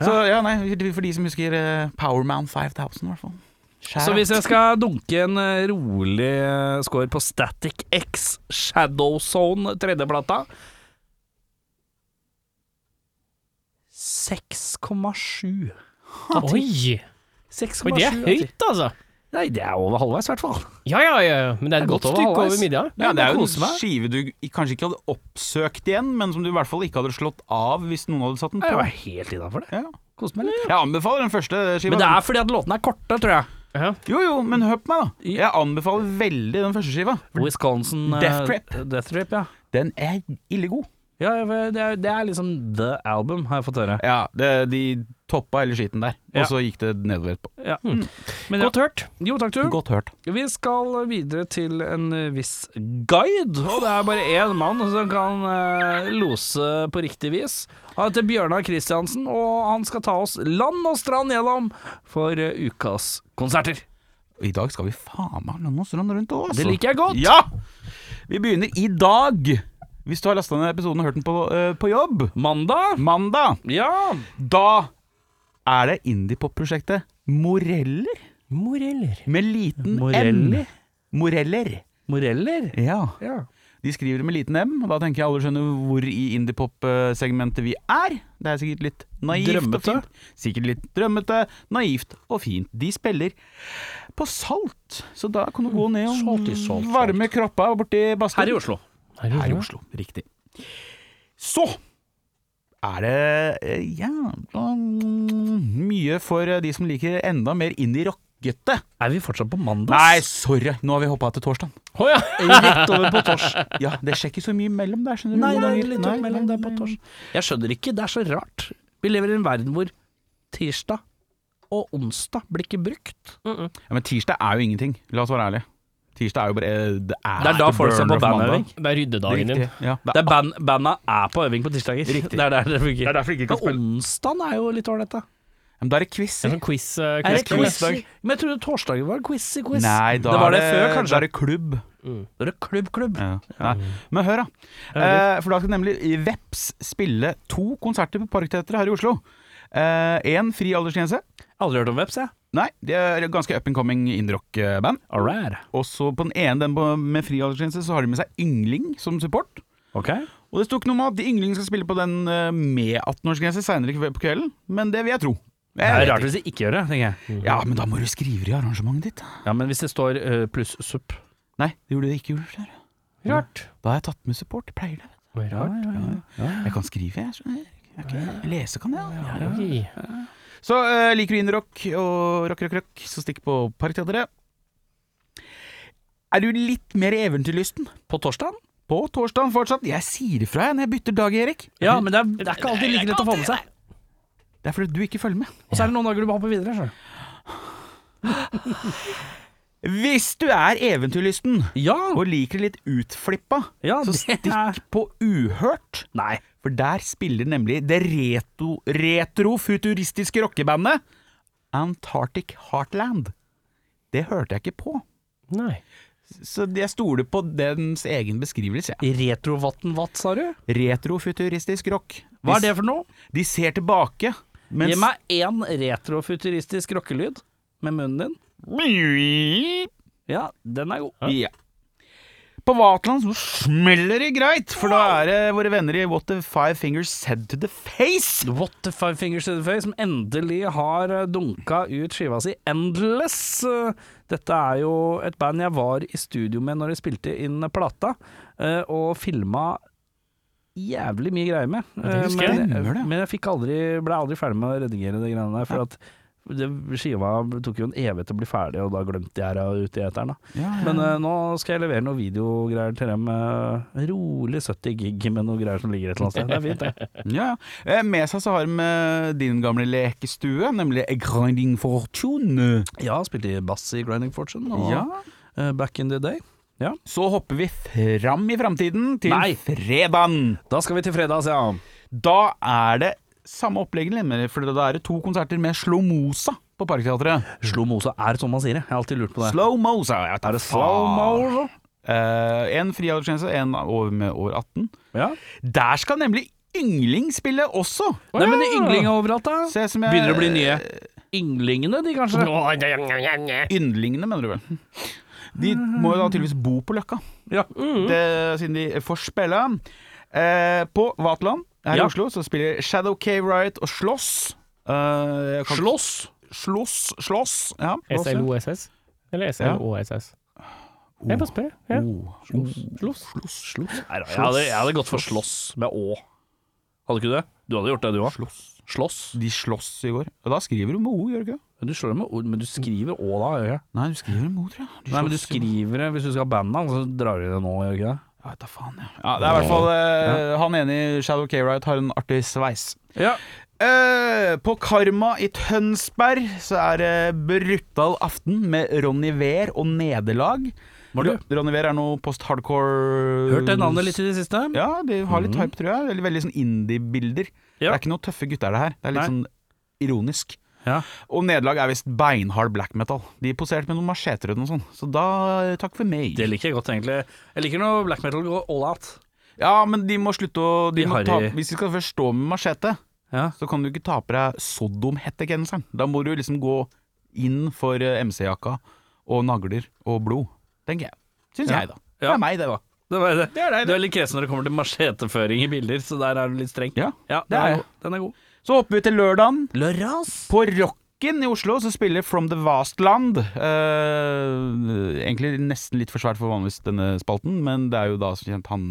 Speaker 2: Så ja, nei, for de som husker eh, Powerman 5000, i hvert fall.
Speaker 1: Så hvis jeg skal dunke en eh, rolig eh, score på Static X Shadow Zone, tredjeplata 6,7.
Speaker 3: Oi!
Speaker 1: 6,7
Speaker 3: Oi, det er
Speaker 1: av ti.
Speaker 3: høyt, altså.
Speaker 1: Nei, det er over halvveis, i hvert fall.
Speaker 3: Ja, ja, ja. ja. Men det er
Speaker 1: Det
Speaker 3: et
Speaker 1: er
Speaker 3: godt
Speaker 1: godt over
Speaker 3: stykke
Speaker 1: halvveis.
Speaker 3: over midja.
Speaker 2: Ja, det er jo
Speaker 1: kose
Speaker 2: en
Speaker 1: meg.
Speaker 2: skive du kanskje ikke hadde oppsøkt igjen, men som du i hvert fall ikke hadde slått av hvis noen hadde satt den
Speaker 1: Jeg
Speaker 2: på.
Speaker 1: var helt innafor det.
Speaker 2: Ja.
Speaker 1: Koste meg litt.
Speaker 2: Jeg anbefaler den første skiva.
Speaker 1: Men det er fordi at låtene er korte, tror jeg.
Speaker 2: Jo jo, men hør på meg, da. Jeg anbefaler veldig den første skiva.
Speaker 1: Wisconsin eh,
Speaker 2: Death Trip.
Speaker 1: Death Trip, ja.
Speaker 2: Den er ille god.
Speaker 1: ja det, er, det er liksom the album, har jeg fått høre.
Speaker 2: Ja, det, de toppa hele skiten der,
Speaker 1: Ja.
Speaker 2: og så gikk det nedover etterpå.
Speaker 1: Ja. Men, ja.
Speaker 3: Godt hørt.
Speaker 1: Jo, takk, du.
Speaker 2: Godt hørt.
Speaker 1: Vi skal videre til en viss guide, og det er bare én mann som kan eh, lose på riktig vis. Han heter Bjørnar Kristiansen, og han skal ta oss land og strand gjennom for eh, ukas konserter.
Speaker 2: I dag skal vi faen meg la oss runde rundt òg, altså.
Speaker 1: Det liker jeg godt.
Speaker 2: Ja! Vi begynner i dag. Hvis du har lasta ned episoden og hørt den på, eh, på jobb,
Speaker 1: Mandag.
Speaker 2: mandag,
Speaker 1: Ja.
Speaker 2: da er det indiepop-prosjektet Moreller
Speaker 3: Moreller.
Speaker 2: med liten
Speaker 1: Morell.
Speaker 2: M. Moreller.
Speaker 1: Moreller.
Speaker 2: Ja.
Speaker 1: Ja.
Speaker 2: De skriver det med liten M, og da tenker jeg alle skjønner hvor i indiepop-segmentet vi er. Det er sikkert litt naivt
Speaker 1: Drømmete.
Speaker 2: og fint. Sikkert litt drømmete, naivt og fint. De spiller på Salt, så da kan du gå ned og
Speaker 1: Salt i Salt, Salt.
Speaker 2: varme kroppa borti badstuen.
Speaker 1: Her i Oslo.
Speaker 2: Her i Oslo, riktig. Så er det eh, jævla mye for eh, de som liker enda mer indie-rockete.
Speaker 1: Er vi fortsatt på mandag?
Speaker 2: Nei, sorry, nå har vi hoppa til torsdag.
Speaker 3: Å ja.
Speaker 1: Rett over på tors.
Speaker 2: Ja, det skjer ikke så mye mellom der, skjønner du.
Speaker 1: Nei, det
Speaker 2: Noen
Speaker 1: er
Speaker 2: ganger.
Speaker 1: litt
Speaker 2: Nei,
Speaker 1: opp mellom
Speaker 2: nei,
Speaker 1: det på
Speaker 2: nei.
Speaker 1: tors. Jeg skjønner ikke, det er så rart. Vi lever i en verden hvor tirsdag og onsdag blir ikke brukt.
Speaker 2: Ja, men tirsdag er jo ingenting, la oss være ærlige. Tirsdag er jo bare eh, Det er,
Speaker 1: Det er da folk ser på bandøving.
Speaker 3: Det er ryddedagen din.
Speaker 2: Riktig. Ja, det
Speaker 1: Det er band, banda er på øving på tirsdager. Det er der det fungerer.
Speaker 2: Det er derfor de ikke kan
Speaker 1: Men onsdagen er jo litt ålreit, da.
Speaker 2: er- men da er det quiz.
Speaker 3: Det er sånn quiz. eh,
Speaker 1: Er det
Speaker 3: quiz-
Speaker 1: quiz?
Speaker 2: quiz-dag?
Speaker 1: Men jeg trodde torsdagen var quiz i quiz.
Speaker 2: Nei, da
Speaker 1: det var det,
Speaker 2: er
Speaker 1: før, kanskje.
Speaker 2: Da er det klubb.
Speaker 1: Da er det klubb, klubb.
Speaker 2: Ja. Nei. Men hør, da. Eh, for da skal nemlig Veps spille to konserter på Parkteatret her i Oslo. Én fri aldersgrense.
Speaker 1: Aldri hørt om Veps, jeg.
Speaker 2: Nei, det er et ganske up and coming indie-rock-band.
Speaker 1: All right.
Speaker 2: Og så på den ene den på- med fri aldersgrense, så har de med seg Yngling som support.
Speaker 1: Ok.
Speaker 2: Og det sto ikke noe om at Yngling skal spille på den eh, med 18-årsgrense seinere på kvelden, men det vil jeg tro. Jeg
Speaker 1: Det er
Speaker 2: vet
Speaker 1: rart hvis de ikke gjør det, tenker jeg.
Speaker 2: ikke. Ja, men da må du skrive det i arrangementet ditt.
Speaker 1: Ja, Men hvis det står eh, pluss supp
Speaker 2: Nei, det gjorde det ikke. gjorde det der.
Speaker 3: Rart.
Speaker 2: Da har jeg tatt med support. Jeg pleier det.
Speaker 3: Oi, Rart.
Speaker 2: Jeg kan skrive, jeg. skjønner du. Jeg kan- Lese kan jeg. Ja, ja.
Speaker 3: Oi.
Speaker 2: Så eh, liker du indie-rock og rock, rock, rock, så stikk på Parkteatret. Er du litt mer eventyrlysten?
Speaker 1: på torsdagen?
Speaker 2: På torsdagen fortsatt. Jeg sier ifra jeg når jeg bytter dag, Erik.
Speaker 1: Ja, men Mhm. det er, det er ikke alltid like lett å få med seg.
Speaker 2: Det er fordi du ikke følger med.
Speaker 1: Og så er det noen dager du må hoppe videre. skjønner du.
Speaker 2: Hvis du er eventyrlysten
Speaker 1: Ja,
Speaker 2: og liker det litt utflippa,
Speaker 1: ja
Speaker 2: så
Speaker 1: det er
Speaker 2: stikk på Uhørt.
Speaker 1: Nei.
Speaker 2: For der spiller nemlig det reto, retro-futuristiske rockebandet Antarctic Heartland. Det hørte jeg ikke på.
Speaker 3: Nei.
Speaker 2: Så jeg stoler på dens egen beskrivelse. jeg.
Speaker 1: Retrovatn-vatt, sa du?
Speaker 2: Retrofuturistisk rock.
Speaker 1: Hva er det for noe?
Speaker 2: De ser tilbake, mens
Speaker 1: Gi meg én retrofuturistisk rockelyd med munnen din. Ja, den er god.
Speaker 2: ja. På Vatland så smeller det greit, for da er det våre venner i What the Five Fingers Said to the Face.
Speaker 1: What the Five Fingers to the Face, som endelig har eh, dunka ut skiva si Endless. Eh, Dette er jo et band jeg var i studio med når jeg spilte inn plata, eh, og filma jævlig mye greier med. Eh,
Speaker 2: husker jeg.
Speaker 1: Men,
Speaker 2: Stemmer det.
Speaker 1: men jeg fikk aldri, ble aldri ferdig med å redigere de greiene der, for at det, skiva tok jo en evighet å bli ferdig, og da glemte jeg det ute i eteren. da. Men eh, nå skal jeg levere noen videogreier til dem. eh, rolig 70 gig med noe greier som ligger et eller annet sted. Det er fint, det.
Speaker 2: Ja, ja. Eh, Med seg så har de eh, din gamle lekestue, nemlig A Grinding Fortune.
Speaker 1: Ja, spilte i bass i Grinding Fortune. Og,
Speaker 2: Ja.
Speaker 1: eh, back in the day.
Speaker 2: Så hopper vi fram i framtiden, til
Speaker 1: Nei.
Speaker 2: fredagen.
Speaker 1: Da skal vi til fredags, ja.
Speaker 2: Da er det samme opplegg, nemlig, for da er det to konserter med Slomosa på Parkteatret.
Speaker 1: Slo Mosa er som man sier det. Jeg har alltid lurt på det.
Speaker 2: Slomosa.
Speaker 1: Er det slow-mo?
Speaker 2: Eh, en frialdersgrense, en over med over 18.
Speaker 1: Ja.
Speaker 2: Der skal nemlig Yngling spille også.
Speaker 1: Nei, men det er yngling overalt, da.
Speaker 2: Se som jeg-
Speaker 1: Begynner å bli nye. Ynglingene, de kanskje?
Speaker 2: Yndlingene, mener du vel. De må jo da tydeligvis bo på Løkka,
Speaker 1: Ja.
Speaker 2: det, siden de får spille. Eh, på Vaterland her
Speaker 1: Ja.
Speaker 2: i Oslo så spiller Shadow K. Riot og Slåss. Eh, jeg kan-
Speaker 1: Slåss.
Speaker 2: Slåss, slåss. Ja.
Speaker 3: SLOSS? Eller SLOSS? Jeg bare spør, jeg. Slåss.
Speaker 1: Nei, da, jeg, hadde, jeg hadde gått for slåss med Å. Hadde ikke du det? Du hadde gjort det, du òg. Slåss.
Speaker 2: De slåss i går. Og da skriver du med O, gjør du ikke det?
Speaker 1: Men Du slår det med ord, men du skriver Å da. Gjør jeg.
Speaker 2: Nei, du skriver med O, tror jeg.
Speaker 1: Nei, men du
Speaker 2: slåss i går.
Speaker 1: skriver det hvis du skal ha bandnavn, så drar du det nå, gjør du ikke det?
Speaker 2: Ja, vet da faen, ja. ja. Det er i hvert fall eh, Han ene i Shadow K-Right har en artig sveis.
Speaker 1: Ja.
Speaker 2: Eh, på Karma i Tønsberg så er det Brutal aften med Ronny Wehr og Nederlag.
Speaker 1: Var du?
Speaker 2: Ro- Ronny Wehr er noe post-hardcore
Speaker 1: Hørt det navnet litt i det siste?
Speaker 2: Ja, de har litt hype, tror jeg. Veldig, veldig sånn indie-bilder. Det
Speaker 1: Ja.
Speaker 2: er ikke noen tøffe gutter, det her. Det er
Speaker 1: Nei.
Speaker 2: litt sånn ironisk.
Speaker 1: Ja.
Speaker 2: Og Nederlag er visst beinhard black metal. De poserte med noen macheter og noe sånt. Så da eh, takk for meg.
Speaker 1: Det liker jeg godt, egentlig. Jeg liker når black metal går all out.
Speaker 2: Ja, men de må slutte å de
Speaker 1: De
Speaker 2: må
Speaker 1: har
Speaker 2: ta,
Speaker 1: i-
Speaker 2: Hvis de skal først stå med machete,
Speaker 1: Ja.
Speaker 2: så kan du ikke ta på deg Sodom-hettegenseren. Da må du liksom gå inn for eh, MC-jakka og nagler og blod, tenker jeg. Syns
Speaker 1: Ja.
Speaker 2: jeg, da. Det
Speaker 1: Ja.
Speaker 2: er meg, det, da.
Speaker 1: Det var det. Du er litt kresen når det kommer til macheteføring i bilder, så der er du litt streng.
Speaker 2: Ja, det
Speaker 1: den
Speaker 2: er jeg.
Speaker 1: god. Den er god.
Speaker 2: Så hopper vi til lørdagen.
Speaker 1: Lørdags?
Speaker 2: På Rocken i Oslo så spiller From the Vast Land. Eh, egentlig nesten litt for svært for vanligvis denne spalten, men det er jo da som kjent han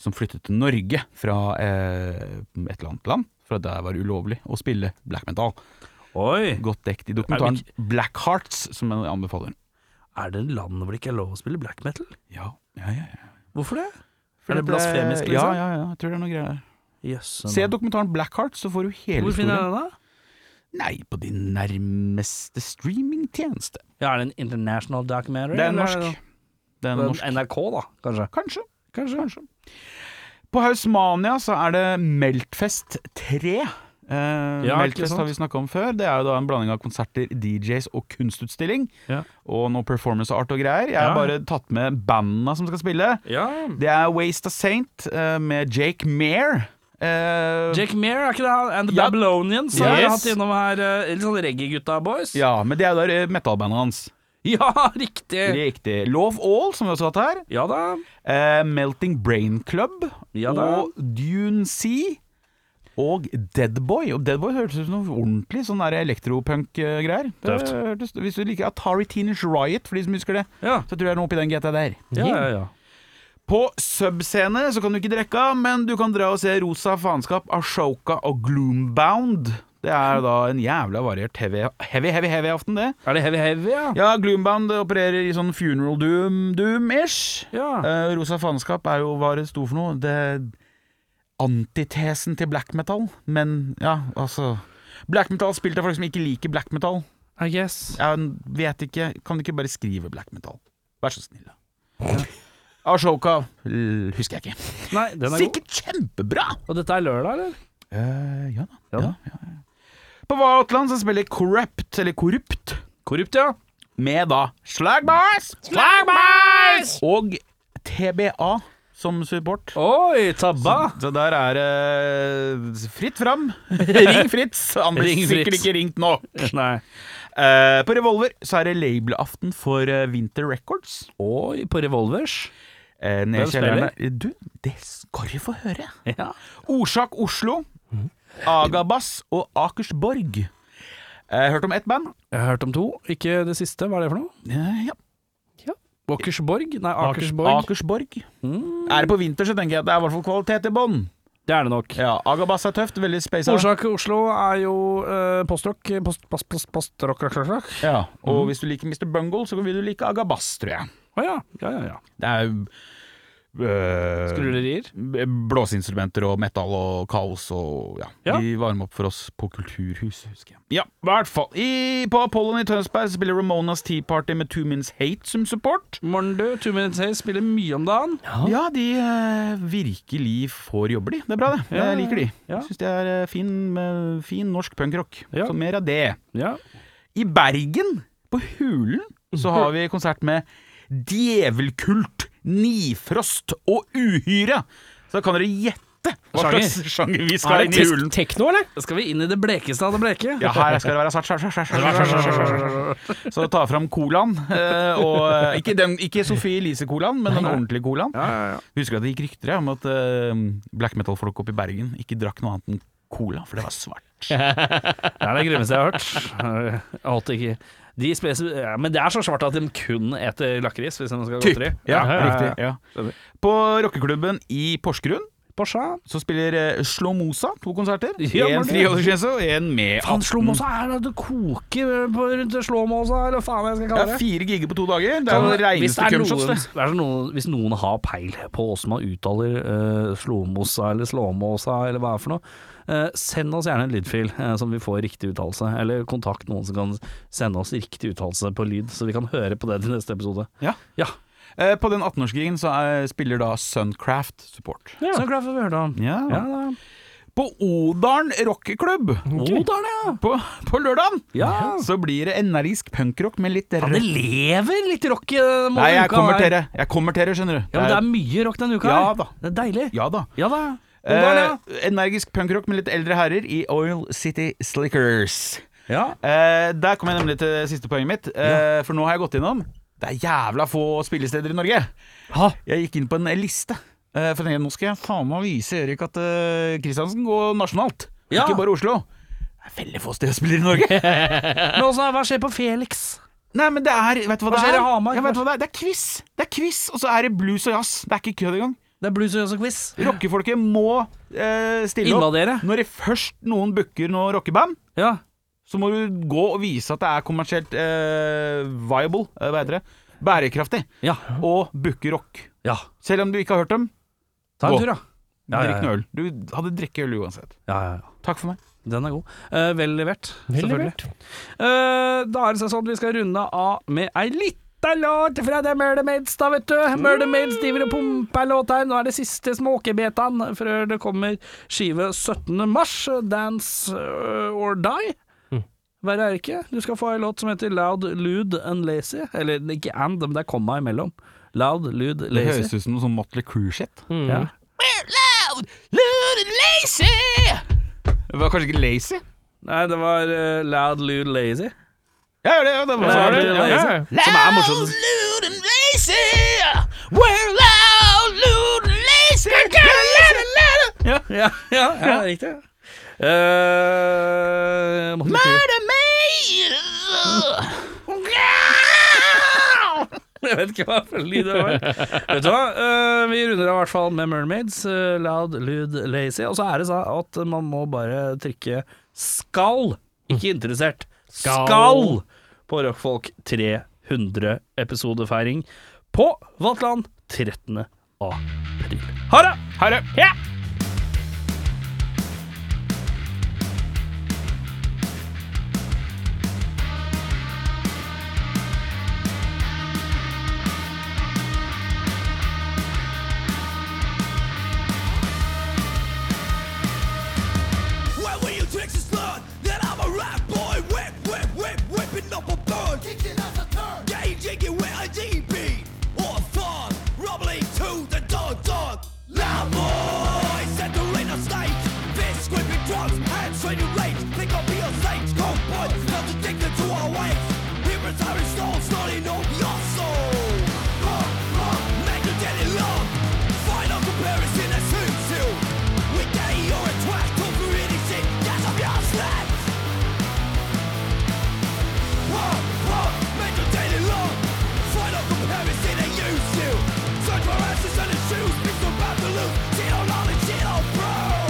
Speaker 2: som flyttet til Norge fra eh, et eller annet land. For at der var det ulovlig å spille black metal.
Speaker 1: Oi.
Speaker 2: Godt dekt i dokumentaren Black Hearts, som jeg anbefaler.
Speaker 1: Er det land hvor det ikke er lov å spille black metal?
Speaker 2: Ja, ja, ja. ja.
Speaker 1: Hvorfor det? er det blasfemisk,
Speaker 2: Ja,
Speaker 1: liksom?
Speaker 2: ja, ja. Jeg tror det er noe greier der.
Speaker 1: Jøssen.
Speaker 2: Se dokumentaren Black Hearts, så får du hele
Speaker 1: Hvor finner
Speaker 2: historien.
Speaker 1: jeg den, da?
Speaker 2: Nei, på din nærmeste streamingtjeneste.
Speaker 1: Ja, er det en international documentary?
Speaker 2: Det er
Speaker 1: eller
Speaker 2: norsk. Det er
Speaker 1: det
Speaker 2: norsk.
Speaker 1: NRK, da, kanskje.
Speaker 2: Kanskje. Kanskje. På Hausmania så er det Meltfest 3. Eh,
Speaker 1: Ja, ikke
Speaker 2: Meltfest
Speaker 1: sant?
Speaker 2: har vi snakka om før. Det er jo da en blanding av konserter, DJs og kunstutstilling.
Speaker 1: Ja.
Speaker 2: Og noe performance art og greier. Jeg har
Speaker 1: Ja.
Speaker 2: bare tatt med banda som skal spille.
Speaker 1: Ja.
Speaker 2: Det er Waste a Saint eh, med Jake Mare. Eh,
Speaker 1: Jake Meir, er ikke det han? And the
Speaker 2: Ja.
Speaker 1: Babylonians har vi
Speaker 2: Yes.
Speaker 1: hatt innom her. eh, Litt sånn reggae-gutta boys.
Speaker 2: ja, men det er jo der eh, metalbandet hans.
Speaker 1: Ja, riktig!
Speaker 2: Riktig. Love All, som vi også har hatt her.
Speaker 1: Ja da.
Speaker 2: Eh, Melting Brain Club
Speaker 1: Ja da.
Speaker 2: og Dune Sea og Deadboy. Og Deadboy hørtes ut som noe ordentlig sånn der elektropunk-greier. Det
Speaker 1: Tøft.
Speaker 2: hørtes- Hvis du liker Atari Teenage Riot, for de som husker det,
Speaker 1: Ja,
Speaker 2: så tror jeg det er noe oppi den GTA der.
Speaker 1: ja, ja. ja.
Speaker 2: På subscene så kan du ikke drikke, men du kan dra og se Rosa faenskap, Ashoka og Gloombound. Det er da en jævla variert heavy, heavy, heavy, heavy aften, det.
Speaker 1: Er det heavy heavy, ja?
Speaker 2: Ja, Gloombound opererer i sånn funeral doom- doom-ish.
Speaker 1: Ja.
Speaker 2: Eh, Rosa faenskap er jo hva det sto for noe. Det Antitesen til black metal. Men ja, altså Black metal spilt av folk som ikke liker black metal.
Speaker 1: I guess.
Speaker 2: Jeg vet ikke Kan du ikke bare skrive black metal? Vær så snill, da. Ashoka l- husker jeg ikke.
Speaker 1: Nei, den er god.
Speaker 2: Sikkert kjempebra!
Speaker 1: Og dette er lørdag, eller?
Speaker 2: Eh, ja da.
Speaker 1: Ja
Speaker 2: Ja,
Speaker 1: da.
Speaker 2: ja, ja. På Vatland så spiller Corrupt, eller Korrupt,
Speaker 1: Korrupt, ja.
Speaker 2: med da Slagboys
Speaker 3: Slagboys!
Speaker 2: og TBA som support.
Speaker 1: Oi, tabba!
Speaker 2: Så der er det fritt fram. Ring Fritz. Han blir
Speaker 1: Ring Fritz.
Speaker 2: sikkert ikke ringt nå.
Speaker 1: Nei.
Speaker 2: Eh, på Revolver så er det labelaften for eh, Winter Records.
Speaker 1: Oi, på revolvers.
Speaker 2: Uh, Nede i
Speaker 1: Hvem
Speaker 2: kjellerne. Du, det skal du få høre.
Speaker 1: Ja.
Speaker 2: Orsak Oslo, Agabass og Akersborg. Eh, hørt om ett band?
Speaker 1: Jeg har hørt om to, ikke det siste. Hva er det for noe?
Speaker 2: Eh, ja.
Speaker 1: Åkersborg? Nei, Akersborg.
Speaker 3: Akersborg.
Speaker 2: Akersborg. Er det på vinter, så tenker jeg at det er i hvert fall kvalitet i bånn.
Speaker 1: Det er det nok.
Speaker 2: Ja, Agabass er tøft. Veldig spasa.
Speaker 1: Orsak Oslo er jo eh, postrock. Post, post, post, postrock, rock, rock, rock.
Speaker 2: Ja. Og
Speaker 1: Mm.
Speaker 2: hvis du liker Mr. Bungle, så vil du like Agabass, tror jeg.
Speaker 1: Å ja. Ja, ja, ja.
Speaker 2: Det er eh,
Speaker 1: Skrulerier.
Speaker 2: blåseinstrumenter og metal og kaos og ja.
Speaker 1: Ja.
Speaker 2: De varmer opp for oss på Kulturhuset, husker jeg. Ja, i hvert fall. I, på Apollon i Tønsberg spiller Ramonas Tea Party med Two Minutes Hate som support.
Speaker 1: Morndu, Two Minutes Haze spiller mye om dagen.
Speaker 2: Ja, de eh, virkelig får jobber, de. Det er bra, det. Jeg liker de.
Speaker 1: Ja.
Speaker 2: Jeg syns de er eh, fin, eh, fin norsk punkrock.
Speaker 1: Ja.
Speaker 2: Så mer av det.
Speaker 1: Ja.
Speaker 2: I Bergen, på Hulen, så har vi konsert med Djevelkult, Nifrost og Uhyre. Så da kan dere gjette hva
Speaker 1: Sjanger.
Speaker 2: slags sjanger vi
Speaker 3: Er
Speaker 2: skal inn
Speaker 3: det
Speaker 2: i
Speaker 3: tek
Speaker 2: hulen.
Speaker 3: tekno, eller?
Speaker 1: Skal vi inn i det blekeste av det bleke?
Speaker 2: Ja, her skal det være svart, svart, svart, svart, svart, svart, svart, svart, svart, svart. Så ta fram colaen. eh, Og eh, ikke, den- ikke Sophie Elise-colaen, men den ordentlige colaen. Husker at det gikk rykter ja, om at eh, black metal-folk oppe i Bergen ikke drakk noe annet enn cola, for det var svart.
Speaker 1: Det er det grummeste jeg har hørt. Eh, Jeg holdt ikke de spes- ja, Men det er så svart at de kun eter lakris hvis de skal ha godteri.
Speaker 2: Ja,
Speaker 1: ja,
Speaker 2: riktig. Ja. På rockeklubben i Porsgrunn
Speaker 1: Porsche.
Speaker 2: Så spiller Slomosa to konserter.
Speaker 1: Ja, men
Speaker 2: Én
Speaker 1: det-
Speaker 2: friholderskjese og én med
Speaker 1: Faen,
Speaker 2: 18.
Speaker 1: slåmåsa er det det koker på rundt slåmåsa, eller hva faen jeg skal
Speaker 2: Det
Speaker 1: kalle
Speaker 2: er
Speaker 1: det.
Speaker 2: fire giger på to dager. Det er det
Speaker 1: Hvis det
Speaker 2: reineste
Speaker 1: er
Speaker 2: cumshots,
Speaker 1: noen-
Speaker 2: det.
Speaker 1: det er sånn noen, hvis noen har peil på åssen man uttaler uh, slåmosa eller slåmåsa eller hva det er for noe, eh, send oss gjerne en lydfil eh, som vi får riktig uttalelse. Eller kontakt noen som kan sende oss riktig uttalelse på lyd, så vi kan høre på det til neste episode.
Speaker 2: Ja.
Speaker 1: Ja.
Speaker 2: Eh, På den 18-årskrigen så er, spiller da Suncraft support.
Speaker 1: Så er jeg glad for at vi hørte om.
Speaker 2: Ja.
Speaker 1: Ja, da.
Speaker 2: På Odalen rockeklubb
Speaker 1: Odalen, ja.
Speaker 2: på, på lørdagen
Speaker 1: Ja.
Speaker 2: så blir det energisk punkrock med litt
Speaker 1: Det
Speaker 2: rød
Speaker 1: lever litt rock i denne
Speaker 2: Nei, jeg
Speaker 1: uka
Speaker 2: kommer
Speaker 1: her.
Speaker 2: til det. Jeg kommer til det, skjønner du.
Speaker 1: Ja, men det
Speaker 2: Det
Speaker 1: er mye rock denne uka.
Speaker 2: Ja
Speaker 1: her.
Speaker 2: da.
Speaker 1: Det er deilig.
Speaker 2: er- ja da.
Speaker 1: Ja da. Odalen,
Speaker 2: Eh, energisk punkrock med litt eldre herrer i Oil City Slickers.
Speaker 1: ja.
Speaker 2: Eh, der kom jeg nemlig til siste poenget mitt, eh, for nå har jeg gått innom. Det er jævla få spillesteder i Norge.
Speaker 1: Ha.
Speaker 2: Jeg gikk inn på en liste. eh, For jeg tenkte, nå skal jeg faen meg vise Erik at eh, Kristiansen går nasjonalt,
Speaker 1: Ja.
Speaker 2: ikke bare Oslo. Det er veldig få steder å spille i Norge.
Speaker 1: Men også, hva skjer på Felix?
Speaker 2: Nei, men det er Vet du hva,
Speaker 1: Hva
Speaker 2: det
Speaker 1: skjer
Speaker 2: er?
Speaker 1: i Hamar?
Speaker 2: Ja, vet du hva det er? Det er quiz! Det er quiz, Og så er det blues og jazz. Det er ikke kødd engang.
Speaker 1: Det er blues og jazz-quiz.
Speaker 2: Rockefolket må eh, stille
Speaker 1: Invadere.
Speaker 2: opp. Når det først noen booker noe rockeband,
Speaker 1: Ja.
Speaker 2: så må du gå og vise at det er kommersielt eh, viable, eh, hva heter det, bærekraftig,
Speaker 1: Ja.
Speaker 2: og booke rock.
Speaker 1: ja.
Speaker 2: Selv om du ikke har hørt dem,
Speaker 1: Ta en
Speaker 2: Gå.
Speaker 1: tur, da. Ja, ja, ja.
Speaker 2: drikk noe øl. Du hadde drukket øl uansett.
Speaker 1: Ja, ja, ja.
Speaker 2: Takk for meg.
Speaker 1: Den er god. Eh, vel levert,
Speaker 3: Veldig
Speaker 1: selvfølgelig.
Speaker 3: lurt.
Speaker 1: Eh, da er det sånn at vi skal runde av med ei lita låt fra The Murder Maids, da, vet du.
Speaker 2: Mm.
Speaker 1: Murder Maids driver og pumper låt her. Nå er det siste småkebetaen før det kommer skive 17. mars, Dance eh, or Die.
Speaker 2: Mm.
Speaker 1: Verre er det ikke. Du skal få ei låt som heter Loud, Lude and Lazy. Eller ikke and, men det er komma imellom. Loud, Lude,
Speaker 2: Det
Speaker 1: Lazy. Mm.
Speaker 2: høres ut som noe sånn Motley Crew-shit.
Speaker 1: Ja.
Speaker 2: Det var kanskje ikke lazy?
Speaker 1: Nei, det var eh, Loud, Lude, Lazy.
Speaker 2: Ja, ja, det, ja, det var
Speaker 1: Loud,
Speaker 2: det.
Speaker 1: Lude,
Speaker 2: Ja, ja.
Speaker 1: Lazy. Som er morsomt. Ja, ja, ja, riktig. Uh, Murder me! Jeg vet ikke hva for lyd det var. Vet du hva? Eh, vi runder av i hvert fall med Mermaids. eh, loud, lyd, lazy. Og så er det sånn at man må bare trykke skal, ikke interessert, skal, på Rockfolk 300 episodefeiring på Vatland 13. april. Ha det!
Speaker 2: Ha det.
Speaker 6: Why will you Texas learn that I'm a rap boy? Whip, whip, whip, whipping up a burn. Kicking up a turn. Gauging it with a DB or a farm. Rumbling to the dog, dog. Loud boys entering the stage. Fist gripping drums, hands training rage. Think I'll be a saint. Cold boys, felt addicted to our ways. Here is Irish soul, starting on your soul. Rock, rock, magnetic love. Final comparison that suits you. We get you're a twat, go for anything. Yes, I'm your slave. Rock, rock, magnetic love. Final comparison that use you. Search for answers and the shoes, bitch, about to lose. See no knowledge,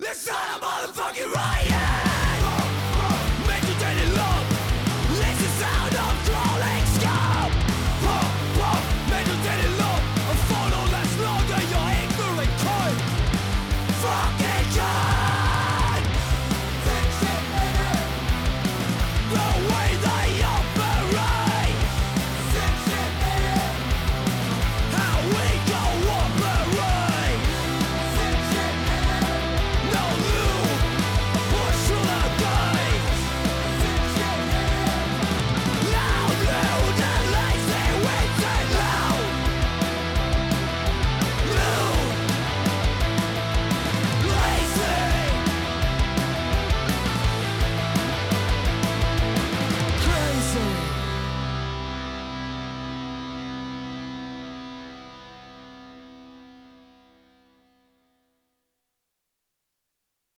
Speaker 6: motherfucking right.